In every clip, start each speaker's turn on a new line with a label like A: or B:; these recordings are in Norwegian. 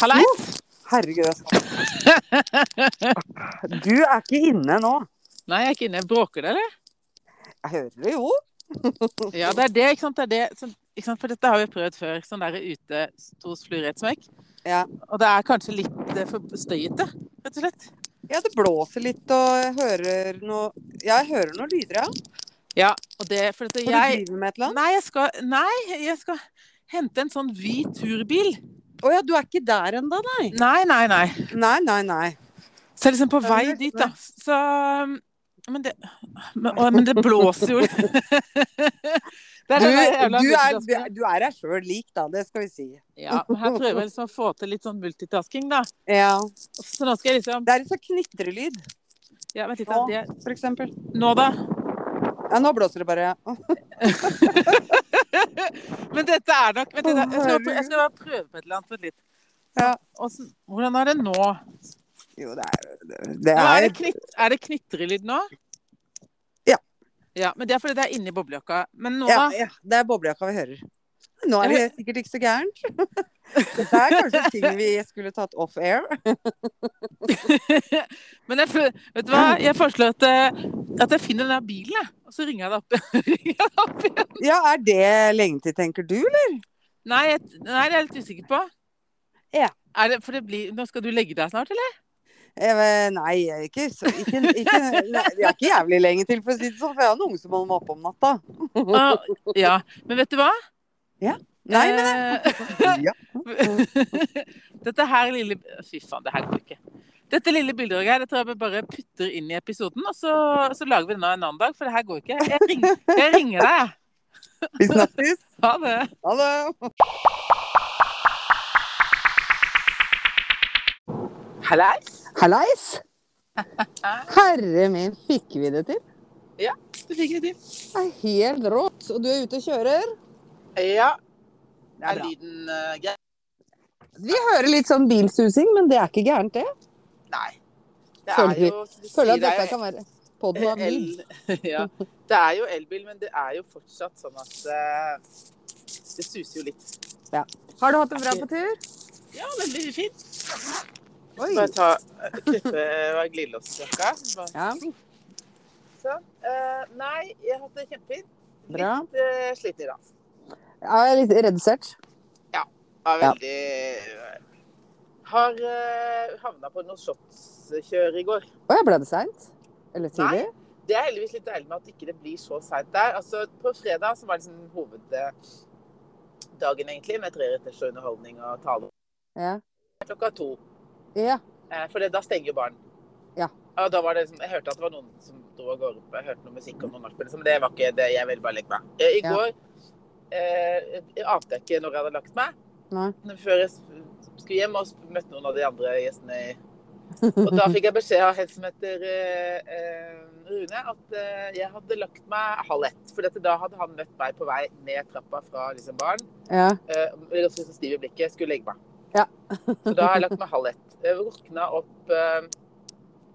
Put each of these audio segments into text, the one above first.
A: Hallais?
B: Herregud. Altså. Du er ikke inne nå.
A: Nei, jeg er ikke inne. Bråker dere?
B: Jeg hører det jo.
A: Ja, det er det, ikke sant. Det er det, sånn- ikke sant? For dette har vi prøvd før. Sånn der ute hos fluorettsmekk.
B: Ja.
A: Og det er kanskje litt eh, for støyete, rett og slett.
B: Ja, det blåser litt, og jeg hører noe Ja, jeg hører noen lyder, ja.
A: Ja, og det For at
B: Og du
A: jeg
B: driver med et eller annet.
A: Nei, jeg skal Nei, jeg skal hente en sånn hvit turbil.
B: Å ja, du er ikke der ennå, nei?
A: Nei, nei, nei.
B: Nei, nei, nei.
A: Så jeg er liksom på
B: Ja,
A: vei
B: men det-
A: dit, da. Så um, Men det Men, å, men det blåser jo Det
B: Du,
A: er den der jævla
B: du, er, du
A: multitasking.
B: er- du er deg sjøl lik, da. Det skal vi si.
A: Ja, men her prøver jeg liksom å få til litt sånn multitasking, da.
B: Ja.
A: Så nå skal jeg liksom
B: Det er en sånn knitrelyd,
A: Ja, vent litt. da. Det,
B: for eksempel.
A: nå, da.
B: Ja, nå blåser det bare. Å,
A: Men dette er nok Vent litt. da. Jeg skal,
B: Å,
A: bare prø- jeg skal bare prøve på et eller annet. Vent litt.
B: Ja.
A: Åssen- hvordan er det nå?
B: Jo, det er Det
A: Nå er,
B: er
A: det knitt, er det knitrelyd nå?
B: Ja.
A: Ja, Men det er fordi det er inni boblejakka. Men nå,
B: ja,
A: da?
B: ja, det er boblejakka vi hører. Nå er det sikkert ikke så gærent. Dette er kanskje ting vi skulle tatt off air.
A: Men jeg, føl- vet du hva? Jeg foreslår at, eh, at jeg finner den der bilen, jeg. Og så ringer jeg deg opp. Ringer jeg deg opp igjen.
B: Ja, er det lenge til, tenker du, eller?
A: Nei, jeg, nei, det er jeg litt usikker på.
B: Ja.
A: Er det, for det blir, nå skal du legge deg snart, eller?
B: Jeg vet- Nei, ikke, så- ikke, ikke nei, Det er ikke jævlig lenge til, for å si det sånn. For jeg har en unge som holder meg oppe om natta.
A: Ah, ja. Men vet du hva?
B: Nei, men
A: Eh,
B: ja.
A: Dette her lille Fy faen, det her går ikke. Dette lille bildet her, det tror jeg vi bare putter inn i episoden, og så, så lager vi den en annen dag, for det her går ikke. Jeg ringer, jeg ringer deg, jeg.
B: Vi snakkes.
A: Ha det.
B: Ha det.
A: Hallais.
B: Hallais. Herre min, fikk vi det til?
A: Du fikk det til.
B: Det er helt rått. Og du er ute og kjører?
A: Ja. eh,
B: Det er bra.
A: lyden grei?
B: Vi hører litt sånn bilsusing, men det er ikke gærent, det.
A: Nei.
B: er Føler vi- jo- Føler at
A: det
B: dette kan være podden av lyd.
A: jo elbil, men det er jo fortsatt sånn at det suser jo litt.
B: Har du hatt det bra på tur?
A: Ja, veldig fint.
B: Oi.
A: Bare ta eh, klippe glidelåsjakka. Bare-
B: Ja,
A: Sånn. Eh, nei, jeg har hatt det kjempefint. Litt
B: bra.
A: eh, sliten i dag.
B: Jeg er litt redusert.
A: Har
B: Ja.
A: veldig Har uh, havna på noe shotskjør i går.
B: Å, jeg ble det seint? Eller tidlig?
A: Nei. Det er heldigvis litt deilig med at ikke det blir så seint der. Altså, på fredag så var det liksom hoveddagen, egentlig, med treretters og underholdning og tale
B: Ja.
A: klokka to.
B: ja.
A: Eh, For det, da stenger jo baren.
B: Ja.
A: Og da var det liksom, jeg hørte at det var noen som dro av gårde på Jeg hørte noe musikk og noen nachspiel. liksom. Det var ikke det jeg ville bare legge meg. Eh, I
B: Ja.
A: går eh, jeg ante jeg ikke når jeg hadde lagt meg.
B: Nei.
A: Men Før jeg sp- skulle hjem og sp- møtte noen av de andre gjestene. i- Og da fikk jeg beskjed av en som heter eh, eh, Rune, at eh, jeg hadde lagt meg halv ett. For dette, da hadde han møtt meg på vei ned trappa fra liksom, baren.
B: Ja.
A: Eh, ble ganske sånn stiv i blikket, skulle legge meg.
B: Ja.
A: så da har jeg lagt meg halv ett. Jeg våkna opp eh,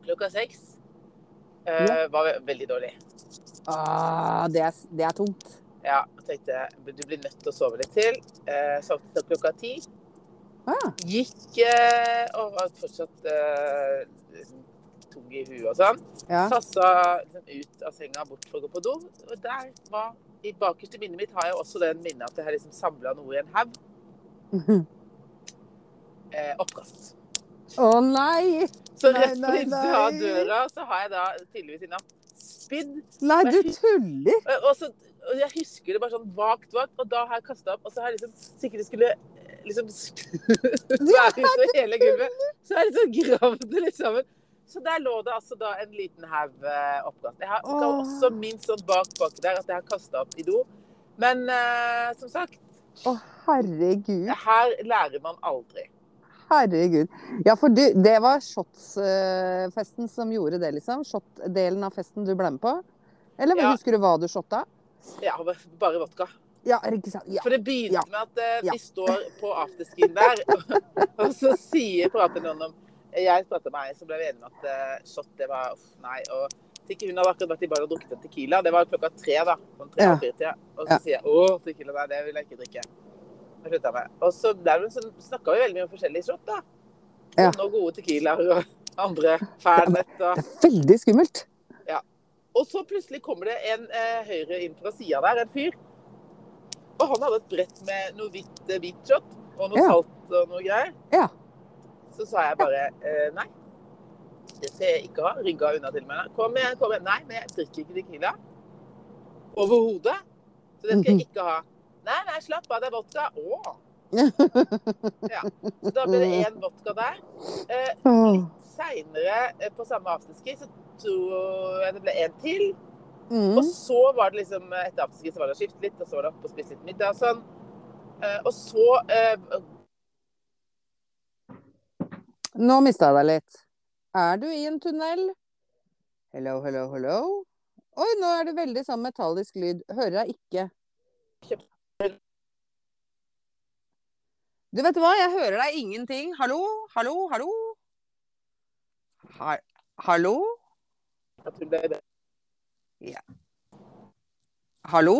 A: klokka seks. Eh, Var ve- veldig dårlig.
B: Ah, det, er, det er tungt.
A: Ja, og tenkte jeg, du blir nødt til å sove litt til. Eh, Sovnet til klokka ti.
B: Ah,
A: Gikk eh, og var fortsatt eh, liksom tung i huet og sånn.
B: ja.
A: Tassa liksom, ut av senga bort for å gå på do. Og der var I bakerste minnet mitt har jeg også den minnet at jeg har liksom samla noe i en haug. Eh, oppkast.
B: Å nei!
A: Så
B: Nei,
A: rett på
B: nei,
A: innsida av
B: nei.
A: døra så har jeg da tydeligvis innom spydd.
B: Nei, du tuller!
A: Og- Og, så, og jeg husker det bare sånn vagt, vagt. Og da har jeg kasta opp. Og så har jeg liksom sikkert det skulle eh, liksom være utover hele gulvet. Så har jeg liksom gravd det litt sammen. Så der lå det altså da en liten haug eh, oppkast. Jeg har kan
B: Åh.
A: også minst sånn bak bak der at jeg har kasta opp i do. Men eh, som sagt,
B: Å herregud,
A: her lærer man aldri.
B: herregud. Ja, for du, det var shotsfesten som gjorde det, liksom? Shot-delen av festen du ble med på? Eller
A: Ja.
B: husker du hva du shotta?
A: Ja, bare vodka.
B: Ja, er det ikke sant? Ja.
A: For det begynte
B: Ja.
A: med at eh,
B: Ja.
A: vi står på afterskin der, og så sier prater noen om Jeg prater med ei som ble vi enige om at eh, shot, det var uff, nei. Og så ikke hun hadde akkurat vært i baren og drukket en tequila. Det var klokka tre, da. Sånn tre
B: Ja.
A: og fire tida. Og så
B: Ja.
A: sier jeg å, tequila, nei, det vil jeg ikke drikke. Jeg slutta meg. Og så dermed så snakka vi veldig mye om forskjellige shot, da.
B: Ja.
A: Noen gode tequilaer og andre fernet og
B: Det er veldig skummelt.
A: Og så plutselig kommer det en eh, høyre inn fra sida der, en fyr. Og han hadde et brett med noe hvitt eh, hvitt shot og noe
B: Ja.
A: salt og noe greier.
B: Ja.
A: Så sa jeg bare eh, nei. Det skal jeg ikke ha. Rygga unna til meg. Kom igjen, kom igjen. Nei, men jeg drikker ikke tequila. Overhodet. Så det skal jeg ikke ha. Nei, nei, slapp av, det er vodka. Å! Ja. Så da ble det én vodka der. Eh,
B: Åh.
A: Seinere eh, på samme afterski så tror jeg det ble en til.
B: Mm.
A: Og så var det liksom eh, etter afterski så var det å skifte litt, og så var det opp og spise litt middag og sånn. Eh, Og så eh,
B: Nå mista jeg deg litt. Er du i en tunnel? Hello, hello, hello. Oi, nå er det veldig sånn metallisk lyd. Hører deg ikke. Du vet hva, jeg hører deg ingenting. Hallo, hallo, hallo. Ha hallo,
A: jeg tror det ble-
B: hallo.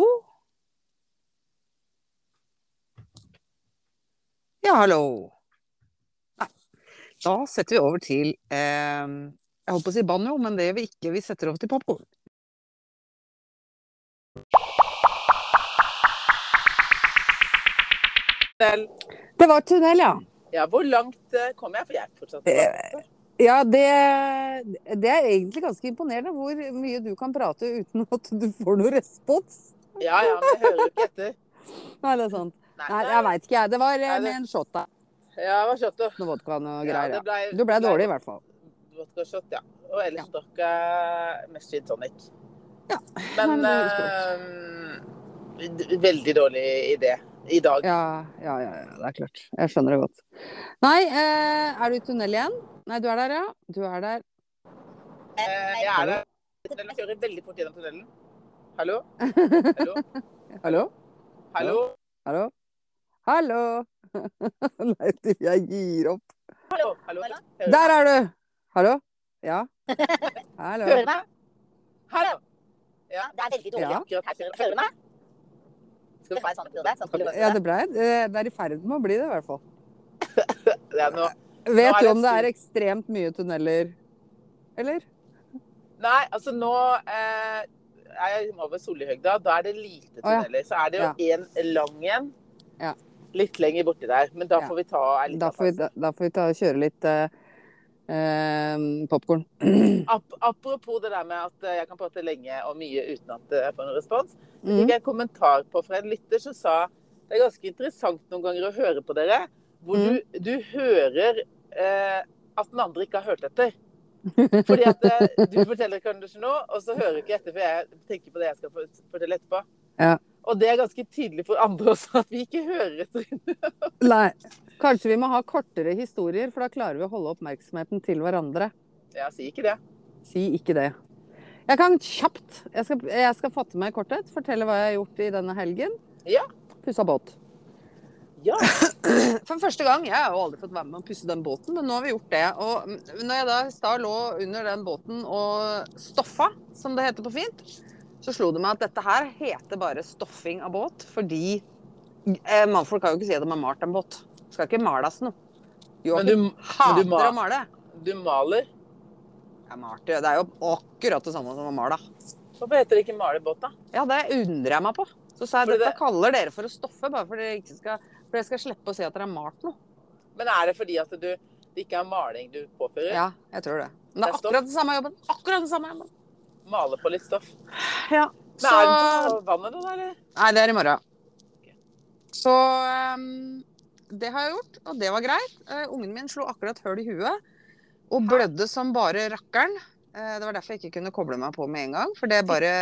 B: Ja, hallo. Nei. Da setter vi over til eh, Jeg holdt på å si banjo, men det gjør vi ikke. Vi setter over til popkorn. Det var tunnel, ja.
A: Ja, hvor langt eh, kom jeg? For jeg er fortsatt
B: Eh, Ja, det, det er egentlig ganske imponerende hvor mye du kan prate uten at du får noe respons.
A: Ja, ja, men jeg hører jo ikke etter.
B: Nei, det er sant.
A: Nei,
B: Nei, jeg veit ikke, jeg. Det var eh,
A: Nei, det-
B: med en shot av
A: Ja, det var shot, og-
B: noe vodka og noe
A: ja,
B: greier.
A: det
B: Ja. Du ble dårlig, i hvert fall.
A: Vodka shot, ja. Og ellers
B: Ja.
A: drakk jeg mest gin tonic.
B: Ja,
A: Men
B: nei,
A: eh, d- veldig dårlig idé i dag.
B: Ja, ja, ja, ja, det er klart. Jeg skjønner det godt. Nei, eh, er du i tunnel igjen? Nei, du er der, ja. Du er der.
A: Eh, jeg er der. Tunnelen kjører veldig fort gjennom tunnelen. Hallo? Hallo?
B: Hallo?
A: Hallo?
B: Hallo? Hallo? Nei, du, jeg gir opp.
A: Hallo? Hallo?
C: Hallo?
A: Hører-
B: Der er du! Hallo? Ja? Hallo?
C: Hører du meg?
A: Hallo?
C: Ja, det er veldig dårlig
B: Ja.
C: akkurat her. Hører du meg? Skal vi ha en sånn prøve? Sånn prøve?
B: Ja, det blei Det det er i ferd med å bli det, i hvert fall.
A: Det er noe. Nå
B: Vet
A: er
B: du
A: det
B: om det
A: stor-
B: er ekstremt mye tunneler? Eller?
A: Nei, altså nå eh, er jeg over Solihøgda. Da er det lite
B: Å, ja.
A: tunneler. Så er det jo en lang en
B: Ja.
A: litt lenger borti der. Men da
B: Ja.
A: får vi ta en liten
B: Da får vi, da, da får vi ta og kjøre litt eh, uh, popkorn.
A: pause. Ap apropos det der med at eh, jeg kan prate lenge og mye uten at eh, jeg får noen respons. Så
B: Mm.
A: fikk jeg en kommentar på fra en lytter som sa det er ganske interessant noen ganger å høre på dere, hvor
B: Mm.
A: du, du hører eh, at den andre ikke har hørt etter. Fordi at eh, du forteller kanskje nå, og så hører du ikke etter, for jeg tenker på det jeg skal fort- fortelle etterpå.
B: Ja.
A: Og det er ganske tydelig for andre også, at vi ikke hører etter.
B: Nei. Kanskje vi må ha kortere historier, for da klarer vi å holde oppmerksomheten til hverandre.
A: Jeg sier ikke det.
B: Si ikke det. Jeg kan kjapt Jeg skal, jeg skal fatte meg i korthet. Fortelle hva jeg har gjort i denne helgen.
A: Ja.
B: Pussa båt.
A: Ja.
B: For første gang, jeg har jo aldri fått være med å pusse den båten, men nå har vi gjort det. Og mm, når jeg da i stad lå under den båten og stoffa, som det heter på fint, så slo det meg at dette her heter bare stoffing av båt, fordi eh, mannfolk kan jo ikke si at de har malt en båt. Det skal ikke males noe.
A: Men du,
B: Joakim
A: men
B: hater
A: du, ma-
B: å male.
A: du maler.
B: Jeg malte jo. Det er jo akkurat det samme som å male.
A: Hvorfor heter det ikke malebåt, da?
B: Ja, det undrer jeg meg på. Så sa jeg
A: Fordi
B: dette
A: det-
B: kaller dere for å stoffe, bare for dere ikke skal For dere skal slippe å si at dere har malt noe.
A: Men er det fordi at du, det ikke er maling du påfører?
B: Ja, jeg tror det. Men
A: Det
B: det er
A: er stoff.
B: akkurat den samme jobben. Akkurat den samme jobben.
A: Maler på litt stoff?
B: Ja.
A: Men
B: Så...
A: er det sånn- på vannet da, eller?
B: Nei, det er i morgen. Så ehm, det har jeg gjort, og det var greit. Eh, ungen min slo akkurat høl i huet og blødde som bare rakkeren. Eh, det var derfor jeg ikke kunne koble meg på med en gang. For det bare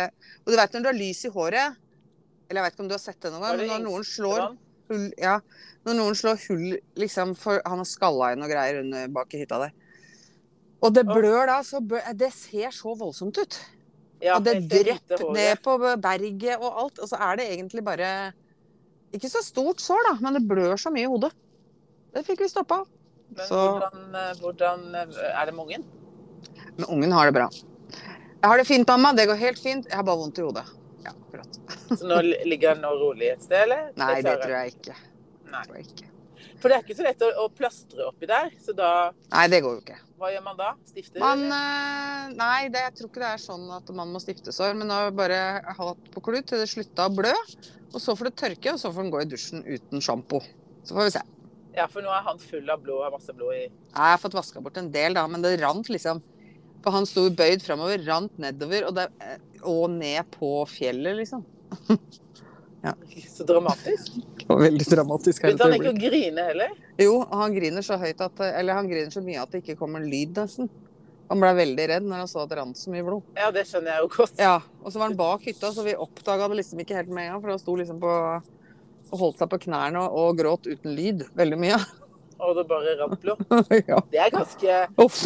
B: Og du veit når du har lys i håret Eller jeg veit ikke om du har sett det noen
A: Var
B: gang,
A: det
B: men når
A: yngst-
B: noen slår hull Ja, når noen slår hull liksom for Han har skalla inn og greier under bak i hytta der. Og det
A: Å.
B: blør da, så blør, Det ser så voldsomt ut.
A: Ja,
B: Og det
A: jeg ser lite
B: drypp
A: håret.
B: ned på berget og alt. Og så er det egentlig bare Ikke så stort sår, da, men det blør så mye i hodet. Det fikk vi stoppa.
A: Men
B: Så
A: hvordan, eh, hvordan eh, Er det mange?
B: Men ungen har det bra. Jeg har det fint, mamma. Det går helt fint. Jeg har bare vondt i hodet. Ja, akkurat.
A: Så nå li- ligger han nå rolig et sted, eller?
B: Nei, det tror jeg ikke.
A: Nei.
B: Tror jeg ikke.
A: For det er ikke så lett å, å plastre oppi der, så da
B: Nei, det går jo ikke.
A: Hva gjør man da? Stifter?
B: Man,
A: eller?
B: eh, nei, det, jeg tror ikke det er sånn at man må stifte sår, men da har jeg bare hatt på klut til det slutta å blø. Og så får det tørke, og så får den gå i dusjen uten sjampo. Så får vi se.
A: Ja, for nå er han full av blod, har masse blod i
B: Jeg har fått vaska bort en del, da, men det rant liksom. For han sto bøyd framover, rant nedover og, det, eh, og ned på fjellet, liksom.
A: Så dramatisk.
B: Det var veldig dramatisk. her
A: Begynte han
B: et
A: ikke å grine heller?
B: Jo, og han griner så høyt at eh, Eller han griner så mye at det ikke kommer lyd, nesten. Han ble veldig redd når han så at det rant så mye blod.
A: Ja, det skjønner jeg jo godt.
B: Ja, Og så var han bak hytta, så vi oppdaga det liksom ikke helt med en gang. For han sto liksom på og holdt seg på knærne og, og gråt uten lyd veldig mye.
A: Og det bare rant blod.
B: ja.
A: Det er ganske
B: Uff.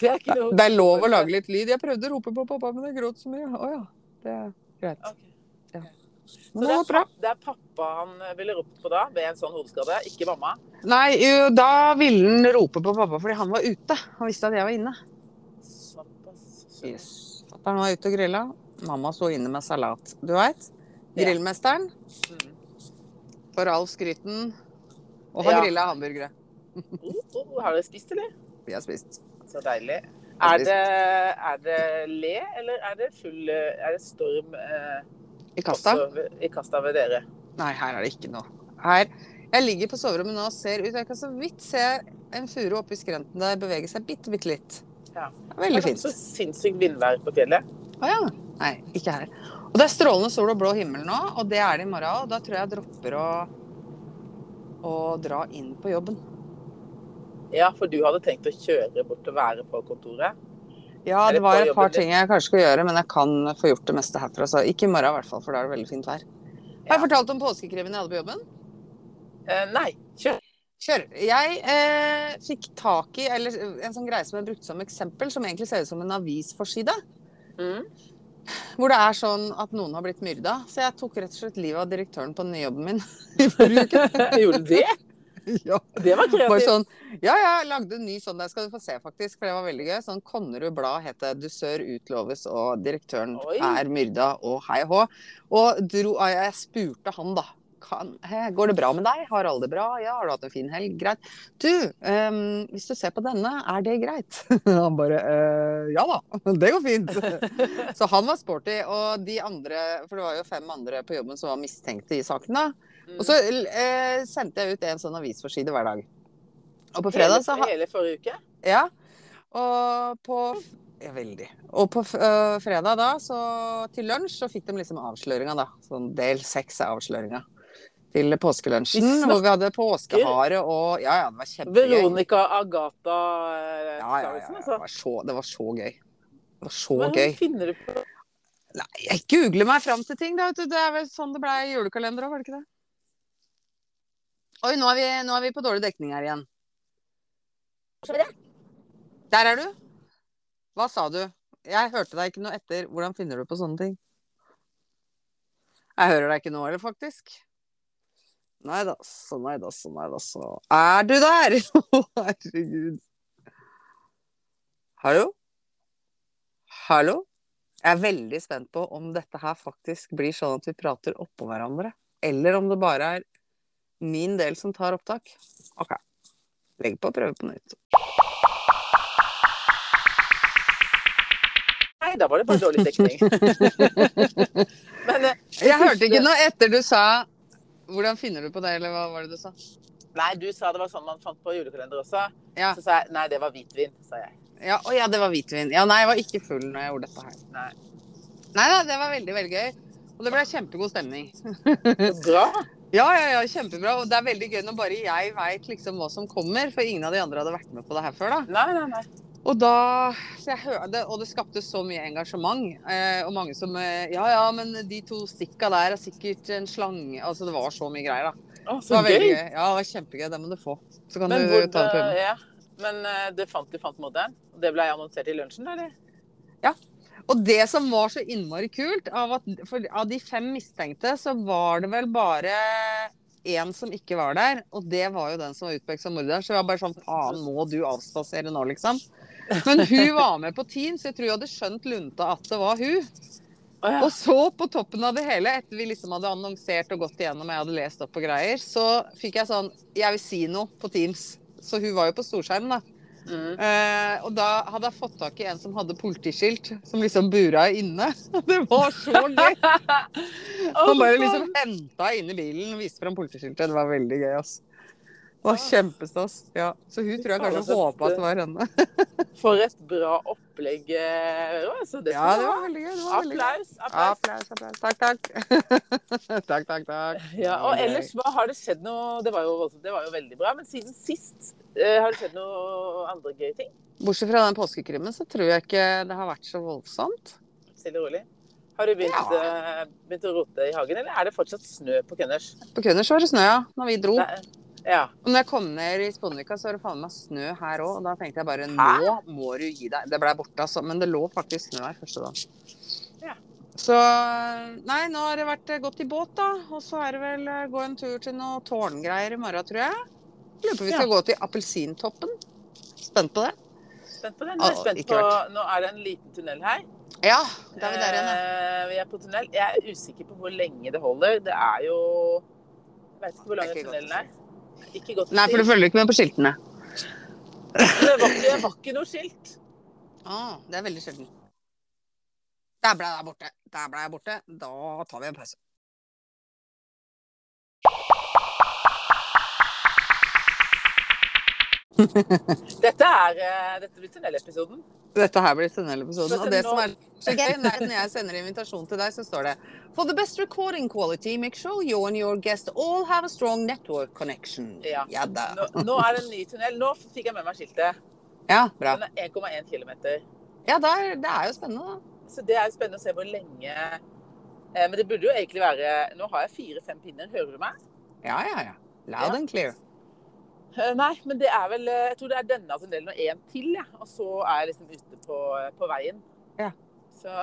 A: Det er ikke noe
B: Det er lov å lage litt lyd. Jeg prøvde å rope på pappa, men jeg gråt så mye. Å ja. Det er greit.
A: Ok.
B: Men det var bra.
A: Det er pappa han eh, ville ropt på da, ved en sånn hodeskade, ikke mamma.
B: Nei, jo, da ville han rope på pappa fordi han var ute. Han visste at jeg var inne.
A: Såpass.
B: Yes. Fatter'n var ute og grilla. Mamma sto inne med salat. Du veit.
A: Ja.
B: Grillmesteren
A: Mm.
B: for Alf Skryten. Og har
A: Ja.
B: grillet grilla hamburgere.
A: Oh, oh, har dere spist, eller?
B: Vi har spist.
A: Så deilig.
B: Har
A: Er
B: spist.
A: det, er det le, eller er det full eh, Er det storm eh,
B: I kasta.
A: også ved- i kasta ved dere?
B: Nei, her er det ikke noe. Her, jeg ligger på soverommet nå og ser ut. Jeg kan så vidt se en furu oppe i skrenten der bevege seg bitte, bitte litt.
A: Ja.
B: Det er Veldig
A: Det er
B: fint.
A: Så sinnssykt vindvær på fjellet.
B: Å ja. Nei, ikke her. Og det er strålende sol og blå himmel nå, og det er det i morgen. Og da tror jeg jeg dropper å, å dra inn på jobben.
A: Ja, for du hadde tenkt å kjøre bort og være på kontoret.
B: Ja,
A: Er
B: det
A: det
B: var
A: på
B: et par
A: jobben din?
B: ting jeg kanskje skulle gjøre, men jeg kan få gjort det meste herfra. Så ikke i morgen i hvert fall, for da er det veldig fint vær. Har
A: Ja.
B: jeg fortalt om påskekrimmen jeg hadde på jobben?
A: Eh, nei, kjør.
B: Kjør. Jeg eh, fikk tak i eller, en sånn greie som jeg brukte som eksempel, som egentlig ser ut som en avisforside.
A: Mm.
B: Hvor det er sånn at noen har blitt myrda. Så jeg tok rett og slett livet av direktøren på den nye jobben min. i forrige uke.
A: Gjorde du det?
B: ja.
A: Det var
B: Bare
A: kreativt.
B: sånn, ja, ja, jeg lagde en ny sånn, der skal du få se faktisk, for det var veldig gøy. Sånn Konnerud Blad het det. Dusør utloves, og direktøren
A: Oi.
B: er myrda, og hei hå. Og dro, ah, jeg spurte han, da. Kan, «Hæ, går det bra med deg? Har alle det bra? Ja, har du hatt en fin helg? Greit. Du, ehm, hvis du ser på denne, er det greit? han bare «Eh, Ja da, det går fint. Så han var sporty. Og de andre, for det var jo fem andre på jobben som var mistenkte i saken, da.
A: Mm.
B: Og så eh, sendte jeg ut en sånn avisforside hver dag. Og på fredag så
A: hele,
B: ha,
A: hele forrige uke?
B: Ja. Og på ja, veldig. Og på f- øh, fredag da, så til lunsj, så fikk de liksom avsløringa, da. Sånn del seks av avsløringa. Til påskelunsjen,
A: Vi snakker-
B: hvor vi hadde påskehare og Ja, ja, det var kjempegøy.
A: Veronica Agatha eh,
B: Ja, ja, ja,
A: Clausen,
B: ja.
A: altså.
B: Det, var så, det var så gøy. Det var så
A: Hva
B: gøy.
A: finner du på?
B: Nei, jeg googler meg fram til ting, da. vet du. Det er vel sånn det ble i julekalender òg, var det ikke det? Oi, nå er, vi, nå er vi på dårlig dekning her igjen.
C: Skal vi det?
B: Der er du. Hva sa du? Jeg hørte deg ikke noe etter. Hvordan finner du på sånne ting? Jeg hører deg ikke nå heller, faktisk. Nei da, så nei da, så nei da, så Er du der? Å, herregud. Hallo? Hallo? Jeg er veldig spent på om dette her faktisk blir sånn at vi prater oppå hverandre. Eller om det bare er min del som tar opptak. OK. Legg på og prøve på nytt.
A: Nei, da var det bare dårlig dekning. Men eh,
B: Jeg hørte ikke noe etter du sa Hvordan finner du på det, eller hva var det du sa?
A: nei, du sa det var sånn man fant på julekalender også.
B: Ja.
A: Så sa jeg nei, det var hvitvin, sa jeg.
B: Ja, å ja, det var hvitvin. Ja, nei, jeg var ikke full når jeg gjorde dette her.
A: Nei.
B: Nei da, det var veldig, veldig gøy. Og det ble kjempegod stemning.
A: Så bra.
B: Ja, ja, ja, kjempebra. Og det er veldig gøy når bare jeg veit liksom hva som kommer, for ingen av de andre hadde vært med på det her før, da.
A: Nei, nei, nei.
B: Og da så jeg hørte, og det skapte så mye engasjement. Eh, og mange som eh, Ja, ja, men de to stikka der er sikkert en slange Altså, det var så mye greier, da.
A: Å,
B: Det
A: så
B: var veldig
A: gøy.
B: gøy. Ja, det var kjempegøy. Det må du få. Så kan
A: Men,
B: du
A: hvor,
B: ta den på jobben.
A: ja. Men eh, det fant du fant modellen? Det ble annonsert i lunsjen, eller?
B: Og det som var så innmari kult, av, at, for av de fem mistenkte, så var det vel bare én som ikke var der. Og det var jo den som var utpekt som morder. Så jeg var bare sånn Faen, må du avspasere nå, liksom? Men hun var med på team, så jeg tror jeg hadde skjønt lunta at det var hun.
A: Å, ja.
B: Og så på toppen av det hele, etter vi liksom hadde annonsert og gått igjennom og jeg hadde lest opp og greier, så fikk jeg sånn Jeg vil si noe på Teams. Så hun var jo på storskjerm, da.
A: Mm.
B: Eh, og da hadde jeg fått tak i en som hadde politiskilt, som liksom bura inne. Det var så gøy! Han bare liksom henta inn i bilen og viste fram politiskiltet. Det var veldig gøy, ass. Det var kjempestas. Ja. Så hun tror jeg kanskje håpa at altså, det var henne.
A: For et bra opplegg. eh, Altså, det
B: Ja,
A: skal du
B: det
A: ha.
B: var veldig gøy. Det var veldig gøy.
A: Applaus. applaus.
B: Applaus, applaus. Takk, takk. takk, takk, takk.
A: Ja, og
B: Gøy.
A: ellers, hva har det skjedd noe Det var jo, voldsomt, det var jo veldig bra. Men siden sist, eh, har det skjedd noe andre gøye ting?
B: Bortsett fra den påskekrimmen, så tror jeg ikke det har vært så voldsomt.
A: Stille og rolig. Har du begynt, eh, begynt å rote i hagen, eller er det fortsatt snø på Kønners?
B: På Kønners var det snø, ja. Når vi dro.
A: Nei, Ja.
B: Og når jeg kom ned i Sponvika, så var det faen meg snø her òg. Og da tenkte jeg bare nå må du gi deg. Det blei borte, altså. Men det lå faktisk snø her første dagen.
A: Ja.
B: Så Nei, nå har det vært eh, gått i båt, da. Og så er det vel eh, gå en tur til noe tårngreier i morgen, tror jeg. Lurer på om vi skal gå til Appelsintoppen. Spent på det?
A: Spent på den.
B: Ah,
A: Jeg er spent
B: ikke
A: på,
B: vært.
A: nå er det en liten tunnel her.
B: Ja, da er vi der igjen, da.
A: Eh, vi er på tunnel. Jeg er usikker på hvor lenge det holder. Det er jo Jeg vet ikke hvor lang
B: Det er ikke
A: tunnelen er. Ikke godt å
B: Nei,
A: si.
B: for du følger ikke med på skiltene.
A: Det var ikke, det var ikke noe skilt.
B: Ah, det er veldig sjelden. Der ble jeg borte. Der ble jeg borte. Da tar vi en pause.
A: Dette er eh, dette blir tunnelepisoden.
B: Dette her blir tunnelepisoden. Og det som er så gøy, det er at når jeg sender invitasjon til deg, så står det For the best recording quality, make sure you and your guest all have a strong network connection.
A: Ja.
B: da.
A: Nå, nå er det en ny tunnel. Nå fikk jeg med meg skiltet.
B: Ja, bra.
A: Den er 1,1 km.
B: Ja, da er- det er jo spennende, da.
A: Så det er jo spennende å se hvor lenge eh, Men det burde jo egentlig være Nå har jeg fire-fem pinner, hører du meg?
B: Ja, ja, ja. Loud
A: Ja.
B: and clear.
A: Eh, Nei, men det er vel eh, Jeg tror det er denne tunnelen og én til, ja. Og så er jeg liksom ute på, på veien.
B: Ja.
A: Så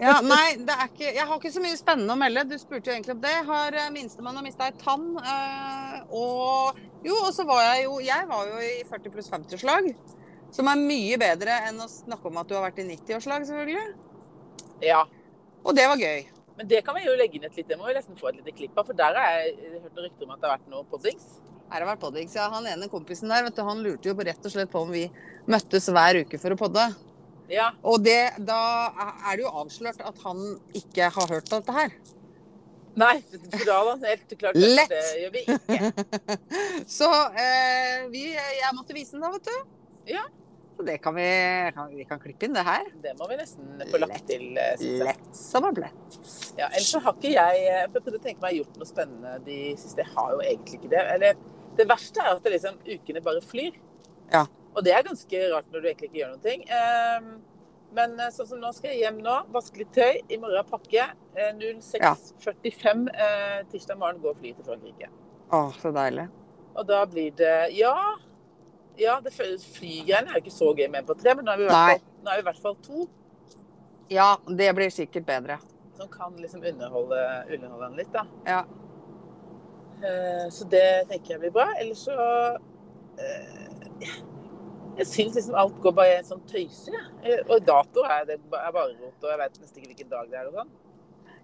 B: Ja, nei, det er ikke, jeg har ikke så mye spennende å melde. Du spurte jo egentlig om det. Har eh, minstemann har mista ei tann. eh, Og jo, og så var jeg jo Jeg var jo i 40 pluss 50-slag. Som er mye bedre enn å snakke om at du har vært i 90-årslag, selvfølgelig.
A: ja.
B: Og det var gøy.
A: Men det kan vi jo legge inn et lite Det må vi nesten få et lite klipp av, for der har jeg eh, hørt noen rykter om at det har vært noe poddings.
B: Her har vært podding, så Han ene kompisen der vet du, han lurte jo på- rett og slett på om vi møttes hver uke for å podde.
A: Ja.
B: Og det, da er det jo avslørt at han ikke har hørt dette her.
A: Nei, bra da. Helt klart.
B: Lett.
A: Det gjør vi ikke.
B: Så eh, vi, jeg måtte vise den da, vet du.
A: Ja.
B: Så det kan vi, kan, vi kan klippe inn det her.
A: Det må vi nesten få lagt til. eh, synes jeg.
B: Lett som en blett.
A: Ja, ellers så har ikke jeg eh, Jeg prøvde å tenke meg gjort noe spennende de siste. Jeg har jo egentlig ikke det. Eller, det verste er at det liksom, ukene bare flyr.
B: Ja.
A: Og det er ganske rart når du egentlig ikke gjør noen ting. Ehm, men eh, sånn som nå skal jeg hjem nå, vaske litt tøy, i morgen pakke. Eh, 06.45 eh, tirsdag morgen går flyet til Frankrike.
B: Å, så deilig.
A: Og da blir det Ja. Ja, det føles Flygreiene er jo ikke så gøy med en på tre, men nå er vi i hvert
B: Nei.
A: fall, nå er vi i hvert fall to
B: Ja, det blir sikkert bedre.
A: som kan liksom underholde, underholde han litt, da.
B: Ja.
A: Eh, Så det tenker jeg blir bra. Ellers så eh, Jeg syns liksom alt går bare i en sånn tøyser, jeg. Eh, Og dato er det ba- er bare rot, og jeg veit nesten ikke hvilken dag det er og sånn.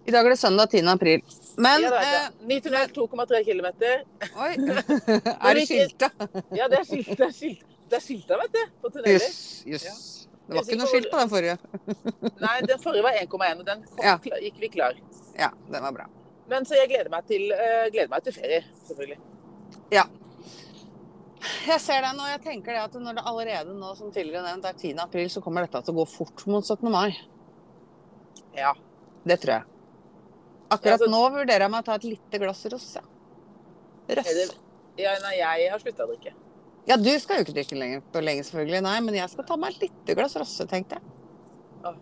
B: I dag er det søndag 10. april. Men
A: Ja, det er det. Ny tunnel, 2,3 km.
B: eh, Oi. er det skilta?
A: Ja, det er skilt, det er skilt. Det er skilta, vet du, på tunneler.
B: Jøss. Jøss. Det var ikke noe skilt på den forrige.
A: Nei, den forrige var 1,1, og den kom,
B: Ja.
A: kla- gikk vi klar.
B: Ja, den var bra.
A: Men så jeg gleder meg til, eh, gleder meg til ferie, selvfølgelig.
B: Jeg ser den, og jeg tenker det at når det allerede nå, som tidligere nevnt, er 10. april, så kommer dette til å gå fort mot 17. mai.
A: Ja.
B: Det tror jeg.
A: Ja,
B: Akkurat
A: så-
B: nå vurderer jeg meg å ta et lite glass røss. Ja.
A: Er
B: Røss.
A: det- ja nei, jeg har slutta å drikke.
B: Ja, du skal jo ikke drikke lenger, på lenge, selvfølgelig. Nei, men jeg skal ta meg et lite glass røsse, tenkte jeg.
A: Åh.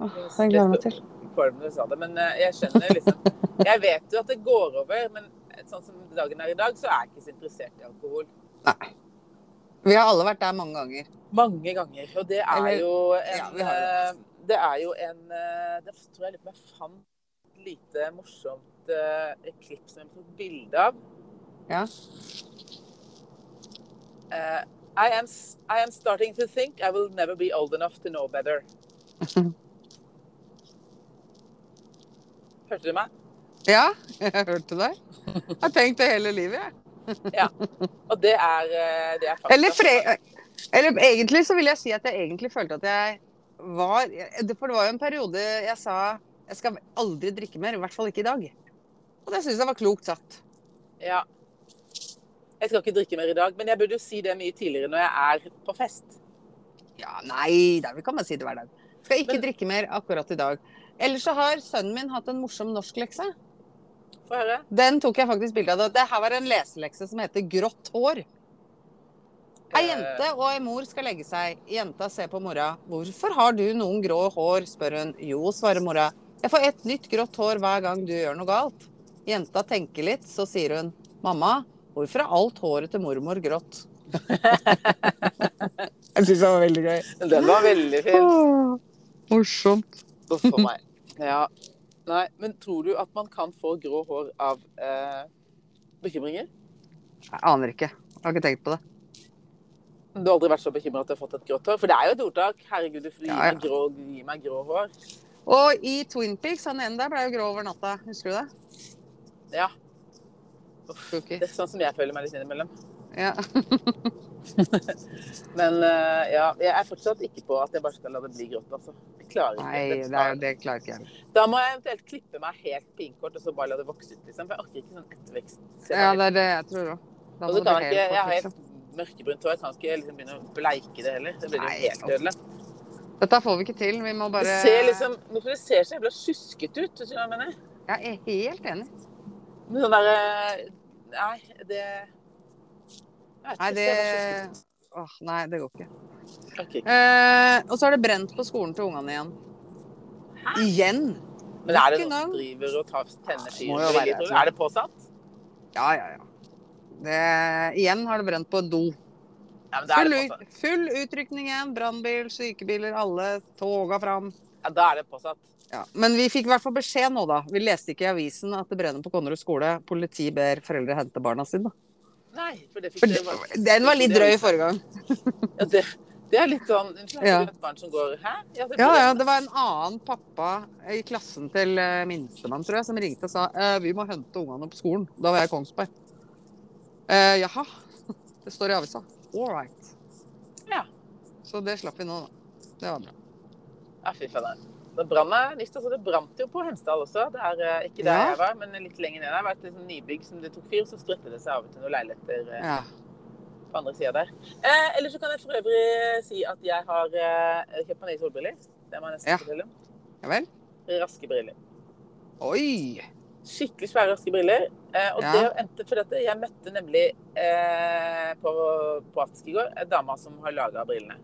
B: Åh, det gleder jeg meg til.
A: kvalm da du sa det, men eh, jeg skjønner liksom Jeg vet jo at det går over, men sånn som dagen er i dag, så er jeg ikke så interessert i alkohol.
B: Nei. Vi har alle vært der mange ganger.
A: Mange ganger. Og det er
B: Eller-
A: jo en
B: ja, vi har det.
A: eh, Det er jo en eh, Det tror jeg litt jeg fant et lite morsomt eh, et klipp som jeg tok bilde av.
B: Ja.
A: Eh, I, am, s- I am starting to think I will never be old enough to know better. Hørte du meg?
B: Ja, jeg hørte deg. Jeg har tenkt det hele livet, jeg.
A: Og det er, eh, det er fakta.
B: Eller, fre eller egentlig så vil jeg si at jeg egentlig følte at jeg var det- For det var jo en periode jeg sa jeg skal aldri drikke mer, i hvert fall ikke i dag. Og det syns jeg var klokt satt.
A: Ja. Jeg skal ikke drikke mer i dag, men jeg burde jo si det mye tidligere når jeg er på fest.
B: Ja, nei da, vi kan bare si det hver dag. Skal ikke
A: Men-
B: drikke mer akkurat i dag. Ellers så har sønnen min hatt en morsom norsklekse.
A: Få høre.
B: Den tok jeg faktisk bilde av. Det her var en leselekse som heter 'Grått hår'. Ei
A: Eh,
B: jente og ei mor skal legge seg. Jenta ser på mora. 'Hvorfor har du noen grå hår?' spør hun. 'Jo', svarer mora. 'Jeg får et nytt grått hår hver gang du gjør noe galt'. Jenta tenker litt, så sier hun. 'Mamma, hvorfor er alt håret til mormor grått?' Jeg syns det var veldig gøy.
A: Eh, Den var veldig fin.
B: Morsomt.
A: Uff for meg. Ja. Nei, men tror du at man kan få grå hår av eh, bekymringer?
B: Jeg aner ikke. Jeg har ikke tenkt på det.
A: Du har aldri vært så bekymra at du har fått et grått hår? For det er jo et ordtak. Herregud, du får gi
B: Ja, ja.
A: meg grå, gi meg grå hår.
B: Og i Twin Peaks, han ene der ble jo grå over natta. Husker du det?
A: Ja.
B: Spooky.
A: Det er sånn som jeg føler meg litt innimellom.
B: Ja.
A: Men eh, ja, jeg er fortsatt ikke på at jeg bare skal la det bli grått, altså. Jeg klarer ikke.
B: Nei, det, er- det klarer ikke jeg.
A: Da må jeg eventuelt klippe meg helt pinkort og så bare la det vokse ut, liksom. For jeg orker ikke sånn ettervekst.
B: Ja, det er det jeg tror òg. Da
A: og
B: må
A: så
B: det
A: kan
B: bli
A: jeg ikke,
B: helt
A: jeg har
B: kort, liksom.
A: helt mørkebrunt hår. Jeg kan ikke liksom begynne å bleike det heller. Det blir jo
B: Nei,
A: helt
B: altså.
A: ødeleggende.
B: Dette får vi ikke til. Vi må bare
A: Det ser liksom Hvorfor det ser så jævla sjuskete ut? Hvis du skjønner hva jeg mener.
B: Jeg er helt enig.
A: Med sånn derre Nei, det jeg vet
B: Nei,
A: ikke,
B: det
A: ser bare sjuskete ut.
B: Åh, nei, det går ikke.
A: Jeg orker ikke.
B: Eh, og så er det brent på skolen til ungene igjen. Igjen?
A: Men er det
B: Nok en
A: noen som
B: gang.
A: driver og tar tenner
B: Ja, må jo
A: skyene?
B: være
A: veldig, tror du?
B: det.
A: Er det påsatt?
B: Ja, ja, ja. Det, igjen har det brent på do.
A: Ja, men da er
B: Full,
A: det
B: ut,
A: påsatt.
B: full utrykning igjen. Brannbil, sykebiler, alle toga fram.
A: Ja, da er det påsatt.
B: Ja. Men vi fikk i hvert fall beskjed nå, da. Vi leste ikke i avisen at det brenner på Konnerud skole. Politi ber foreldre hente barna sine.
A: Nei, for det
B: For
A: fikk
B: det,
A: det var-
B: den var litt
A: det-
B: drøy forrige gang.
A: Ja, det, det er litt sånn Unnskyld,
B: Ja.
A: har du et barn som går Hæ? Ja, det,
B: Ja, ja, det var en annen pappa i klassen til eh, minstemann, tror jeg, som ringte og sa «Eh, vi må hente ungene på skolen. Da var jeg i Kongsberg. Eh, jaha. Det står i avisa. All right.
A: Ja.
B: Så det slapp vi nå, da. Det var bra.
A: Ja, fy faen. Da brann jeg nyst. Altså, det brant jo på Hemsedal også. Det er eh, ikke der
B: Ja.
A: jeg var, men litt lenger ned. der. Det var et sånn nybygg som det tok fyr, så spredte det seg over til noen leiligheter eh,
B: Ja.
A: på andre sida der. Eh, Eller så kan jeg for øvrig eh, si at jeg har eh, kjøpt meg nye solbriller. Det må jeg nesten
B: Ja.
A: fortelle om.
B: ja vel.
A: Raske briller.
B: Oi!
A: Skikkelig svære, raske briller. Eh, og
B: Ja.
A: det endte for dette. Jeg møtte nemlig eh, på, på Ask i går en dame som har laga brillene.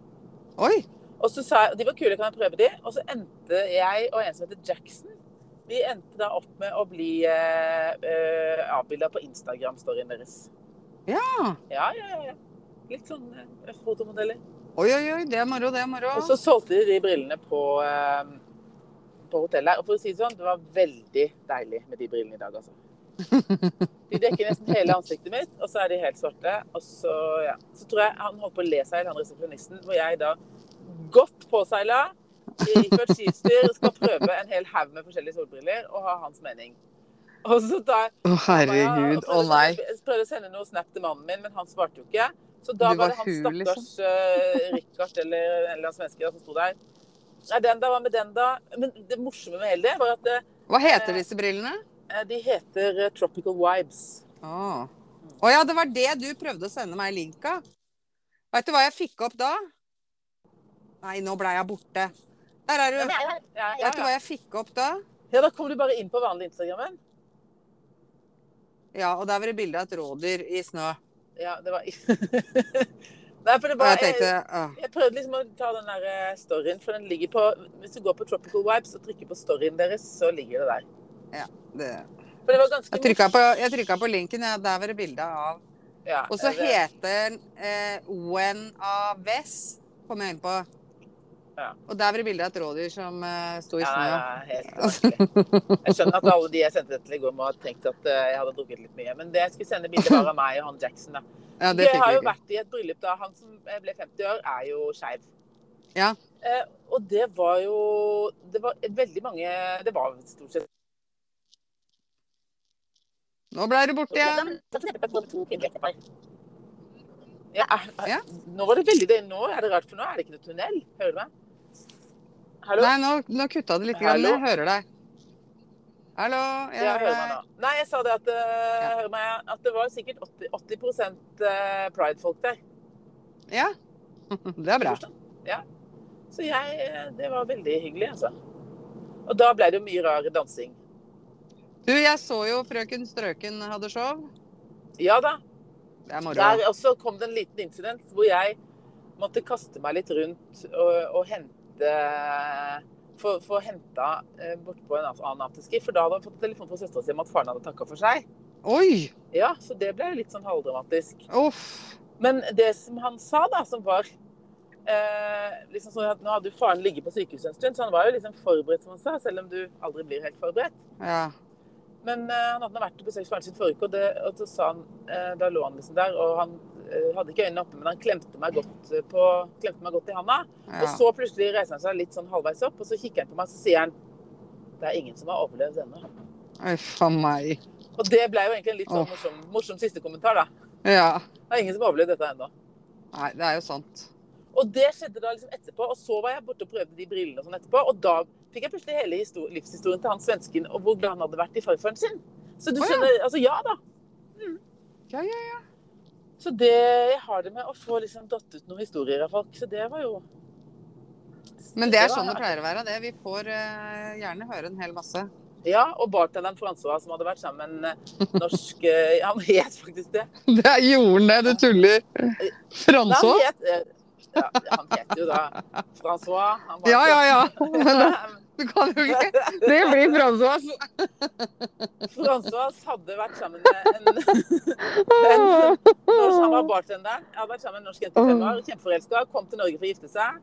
B: Oi!
A: Og så sa jeg, De var kule, kan jeg prøve de? Og så endte jeg og en som heter Jackson Vi endte da opp med å bli eh, eh, avbilda på Instagram-storyen deres.
B: Ja.
A: Ja, ja, ja, ja. Litt sånn eh, fotomodeller.
B: Oi, oi, oi. Det er moro, det er moro.
A: Og så solgte de de brillene på, eh, på hotellet. her. Og for å si det sånn, det var veldig deilig med de brillene i dag, altså. De dekker nesten hele ansiktet mitt, og så er de helt svarte. Og så, ja. så tror jeg han holdt på å le seg i hjel, han resepsjonisten, hvor jeg da godt påseila, iført skistyr, skal prøve en hel haug med forskjellige solbriller og ha hans mening. Og så da
B: Å,
A: jeg
B: herregud. Å, nei.
A: prøvde, prøvde å sende noe snap til mannen min, men han svarte jo ikke. Så da
B: Du
A: var
B: var liksom.
A: det han
B: hul,
A: stakkars eh, Richard eller en eller annen svenske da, som sto der. Nei, den da, hva med den da? Men det morsomme med hele det var at eh,
B: Hva heter disse brillene?
A: de heter eh, Tropical Vibes.
B: Å Å ja, det var det du prøvde å sende meg link av. Veit du hva jeg fikk opp da? Nei, nå blei jeg borte. Der er
C: Men
B: du.
C: jeg er jo her.
A: Ja, ja,
B: Veit du
A: ja.
B: hva jeg fikk opp da?
A: ja, da kom du bare inn på vanlig Instagrammen.
B: Ja, og der var det bilde av et rådyr i snø.
A: Ja, det var Nei, for det
B: Og
A: var
B: jeg tenkte åh.
A: Jeg prøvde liksom å ta den der eh, storyen, for den ligger på Hvis du går på Tropical Vibes og trykker på storyen deres, så ligger det der.
B: det.
A: For det var ganske
B: Jeg trykka på, jeg trykket på linken, ja, der var det bilde av
A: Ja,
B: Og så
A: det-
B: heter den eh, When Aves, kom E jeg inn på.
A: Ja.
B: Og der var det bilde av et rådyr som eh, sto i
A: Ja,
B: snø.
A: nei, nei, helt merkelig. Jeg skjønner at alle de jeg sendte det til i går, må ha tenkt at eh, jeg hadde drukket litt mye. Men det jeg skulle sende bilder var av meg og han Jackson. Da.
B: Ja, det
A: jeg
B: fikk
A: har
B: vi
A: jo
B: ikke.
A: vært i et bryllup da han som eh, ble 50 år, er jo skeiv.
B: Ja.
A: Eh, og det var jo Det var veldig mange Det var stort sett
B: Nå ble du borte
C: Ja.
B: igjen.
C: men så for eksempel på to kvinnelige ektepar.
A: Ja, er-
B: Ja.
A: Nå var det veldig det. Nå er det rart, for nå er det ikke noe tunnel. Hører du meg? Hallo?
B: Nei, nå, nå kutta det litt, grann, men jeg hører deg. Hallo, jeg
A: Ja,
B: hører
A: hører meg
B: deg.
A: nå. Nei, jeg sa det at, eh, hører meg, at det var sikkert 80, 80 eh, pride-folk der.
B: Ja, det er bra.
A: Torsdag. Ja. Så jeg eh, Det var veldig hyggelig, altså. Og da ble det jo mye rar dansing.
B: Du, jeg så jo Frøken Strøken hadde show.
A: Ja da.
B: Det er moro.
A: Der også kom det en liten incident hvor jeg måtte kaste meg litt rundt og, og hente Få få henta eh, bortpå en annen afterski, for da hadde han fått telefon fra søstera si om at faren hadde takka for seg.
B: Oi!
A: Ja, så det ble litt sånn halvdramatisk.
B: Uff.
A: Men det som han sa, da, som var eh, liksom sånn at Nå hadde jo faren ligget på sykehuset en stund, så han var jo liksom forberedt, som han sa, selv om du aldri blir helt forberedt.
B: Ja.
A: Men eh, han hadde nå vært og besøkt faren sin forrige uke, og, det, og så sa han eh, Da lå han liksom der, og han eh, hadde ikke øynene oppe, men han klemte meg godt, eh, på, klemte meg godt i handa. Og
B: ja.
A: så plutselig reiser han seg litt sånn halvveis opp, og så kikker han på meg, og så sier han Det er ingen som har overlevd ennå.
B: Uff a meg.
A: Og det ble jo egentlig en litt sånn
B: Åh.
A: morsom, morsom siste kommentar, da.
B: Ja.
A: Det er ingen som har overlevd dette ennå.
B: Nei, det er jo sant.
A: Og det skjedde da liksom etterpå, og så var jeg borte og prøvde de brillene og sånn etterpå, og da fikk jeg plutselig hele histor- livshistorien til han svensken, og hvor glad han hadde vært i farfaren sin. Så du
B: Å, ja.
A: skjønner, altså ja da. Mm.
B: Ja, ja,
A: Så det, jeg har det med å få liksom datt ut noen historier av folk, så det var jo...
B: Men det er
A: var-
B: sånn det pleier å være. det. Vi får eh, gjerne høre en hel masse.
A: Ja, og bartenderen François som hadde vært sammen med en eh, norsk... eh, Han het faktisk det.
B: Det er jorden det, du tuller.
A: Nei,
B: Franså?
A: Han het, eh, ja, han het jo da François. han var-
B: Ja, ja, ja. Men du kan jo ikke Det blir Fransås.
A: François hadde vært sammen med en... Men når han var bartenderen, jeg hadde vært sammen med en norsk jente i fem år, kjempeforelska, kom til Norge for å gifte seg.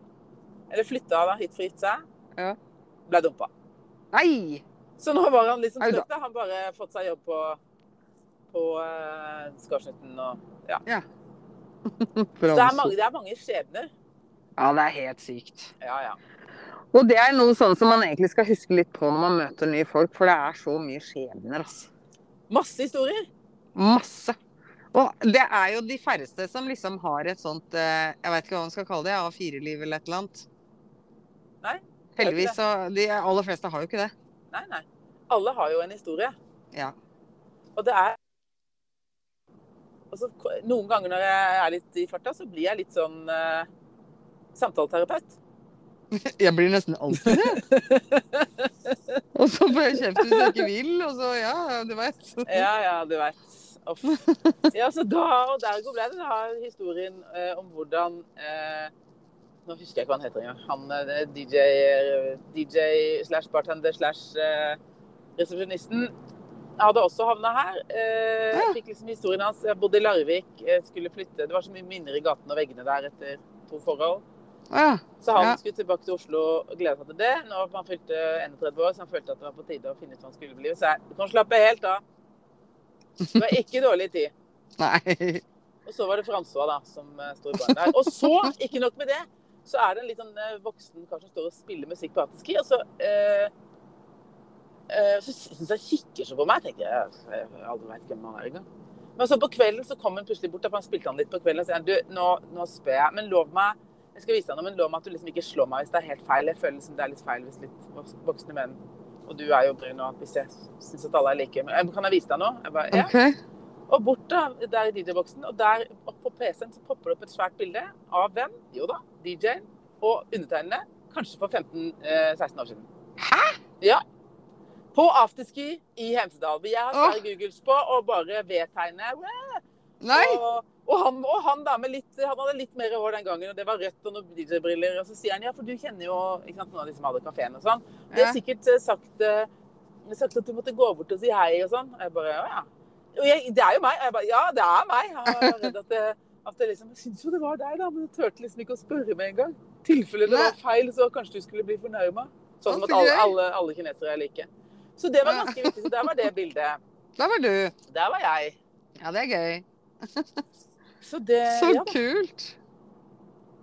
A: Eller flytta da hit for å gifte seg.
B: Ja.
A: Ble dumpa.
B: Nei!
A: Så nå var han liksom
B: Au da.
A: støkt. da. Han bare fått seg jobb på, på uh, Skarsnuten og Så det er, mange, det er mange skjebner.
B: Ja, det er helt sykt.
A: Ja, ja.
B: Og det er noe sånn som man egentlig skal huske litt på når man møter nye folk, for det er så mye skjebner, altså.
A: Masse historier.
B: Masse. Og det er jo de færreste som liksom har et sånt eh, Jeg veit ikke hva man skal kalle det, A4-liv eller et eller annet.
A: Nei, det er jo ikke
B: Heldigvis så De aller fleste har jo ikke det.
A: Nei, nei. Alle har jo en historie.
B: Ja.
A: Og det er og så, ko- Noen ganger når jeg er litt i farta, så blir jeg litt sånn eh, samtaleterapeut.
B: Jeg blir nesten alltid det. Og så får jeg kjeft hvis jeg ikke vil, og så ja, du veit.
A: Ja, ja, du vet. Uff. Ja, så da og dergo ble det da historien eh, om hvordan eh, Nå husker jeg ikke hva han heter engang. Han eh, DJ eh, DJ slash bartender slash eh, resepsjonisten hadde også havna her. Eh,
B: Ja.
A: Fikk liksom historien hans. Jeg bodde i Larvik, eh, skulle flytte. Det var så mye minner i gatene og veggene der etter to forhold.
B: Ja.
A: Så han
B: Ja.
A: skulle tilbake til Oslo og gleda seg til det. Nå var han fylte 31 år, så han følte at det var på tide å finne ut hva han skulle bli. Så jeg, du kan slappe helt av. Det var ikke dårlig tid.
B: Nei.
A: Og så var det Francois, da, som eh, sto i baren der. Og så, ikke nok med det, så er det en litt sånn eh, voksen kar som står og spiller musikk på afterski, og så eh, eh, så syns jeg kikker så på meg. tenker Jeg jeg aldri vet hvem han er engang. Men så på kvelden så kom hun plutselig bort, da, for han spilte han litt på kvelden. Og sier du, nå, nå spør jeg, men lov meg jeg skal vise deg noe, men lov meg at du liksom ikke slår meg hvis det er helt feil. Jeg føler liksom det er litt feil hvis litt voks- voksne menn Og du er jo brun, og hvis jeg syns at alle er like men, eh, Kan jeg vise deg noe? Jeg bare, ja.
B: OK.
A: Og bort da, der i DJ-boksen, og der opp på PC-en så popper det opp et svært bilde av hvem? Jo da, DJ-en og undertegnede, kanskje for 15-16 år siden.
B: Hæ?
A: Ja. På afterski i Hemsedal. hvor Jeg har
B: Åh.
A: svære googles på og bare vedtegner.
B: Nei.
A: Og, og, han, og han da med litt, han hadde litt mer hår den gangen, og det var rødt og noen DJ-briller. Og så sier han ja, for du kjenner jo ikke sant, noen av de som hadde kafeen og sånn. De
B: Ja.
A: har sikkert eh, sagt, eh, sagt at du måtte gå bort og si hei og sånn. Og jeg bare ja, ja. Og jeg, det er jo meg. Og jeg bare ja, det er meg. Jeg var redd at det, at det liksom Jeg syns jo det var deg, da, men jeg turte liksom ikke å spørre med en gang. I tilfelle det
B: Nei.
A: var feil, så kanskje du skulle bli fornærma. Sånn som
B: Å,
A: at
B: så
A: alle,
B: gøy.
A: alle, alle kinesere er like. Så det var
B: Ja.
A: ganske viktig. Så der var det bildet.
B: Der var du.
A: Der var jeg.
B: Ja, det er gøy.
A: Så det
B: Så
A: ja da.
B: kult.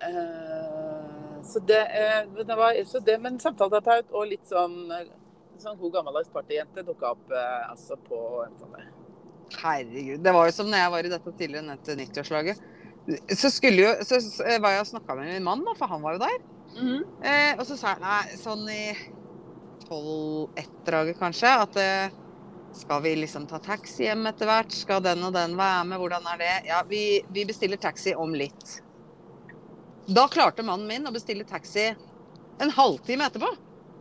A: Eh, så det, eh, det var, så det, men samtaleterapeut og litt sånn, eh, sånn god gammeldags partyjente dukka opp eh, altså på en sånn der.
B: Herregud. Det var jo som når jeg var i dette tidligere nettet nyttårslaget. Så, skulle jo, så så var jeg og snakka med min mann, da, for han var jo der. Eh, og så sa jeg nei, sånn i 12-1-draget kanskje, at eh, skal vi liksom ta taxi hjem etter hvert? Skal den og den være med? Hvordan er det? Ja, vi, vi bestiller taxi om litt. Da klarte mannen min å bestille taxi en halvtime etterpå.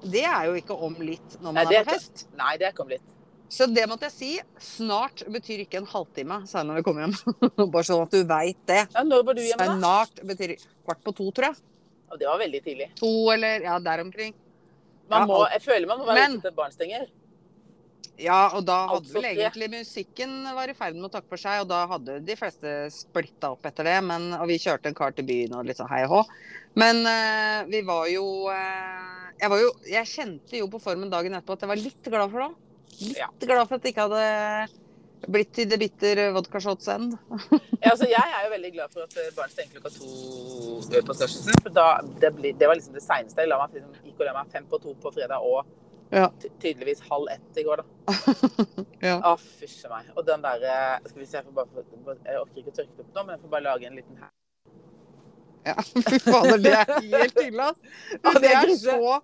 B: Det er jo ikke om litt når man
A: Nei, det er
B: er på
A: ikke-
B: fest.
A: Nei, det kom litt.
B: Så det måtte jeg si. Snart betyr ikke en halvtime, sa jeg når vi kom hjem. Bare sånn at du veit det.
A: Ja, når var du hjemme, da?
B: Snart betyr kvart på to, tror jeg.
A: Ja, det var veldig tidlig.
B: To eller ja, der omkring. Ja,
A: Man må, jeg føler man må være
B: Men-
A: ute til et barn stenger.
B: Ja, og da hadde
A: Altså
B: vel
A: tre.
B: egentlig musikken var i ferd med å takke for seg, og da hadde de fleste splitta opp etter det. Men, og vi kjørte en kar til byen og litt sånn hei og hå. Men eh, vi var jo, eh, jeg var jo Jeg kjente jo på formen dagen etterpå at jeg var litt glad for det. Litt
A: Ja.
B: glad for at det ikke hadde blitt til det bitter vodka shots end.
A: Ja, altså, jeg er jo veldig glad for at eh, barn stenger klokka to eh, på Skarsensen. For da, det, blir- det var liksom det seineste. Jeg la meg, liksom, gikk og la meg fem på to på fredag og
B: Ja.
A: ty- tydeligvis halv ett i går, da.
B: Ja.
A: Å, fysje meg. Og den derre Skal vi se, jeg, får bare, jeg orker ikke å tørke det opp nå, men jeg får bare lage en liten her.
B: Ja, fy fader, det er helt ille, ass.
A: Ja,
B: det,
A: det er
B: er
A: krise.
B: så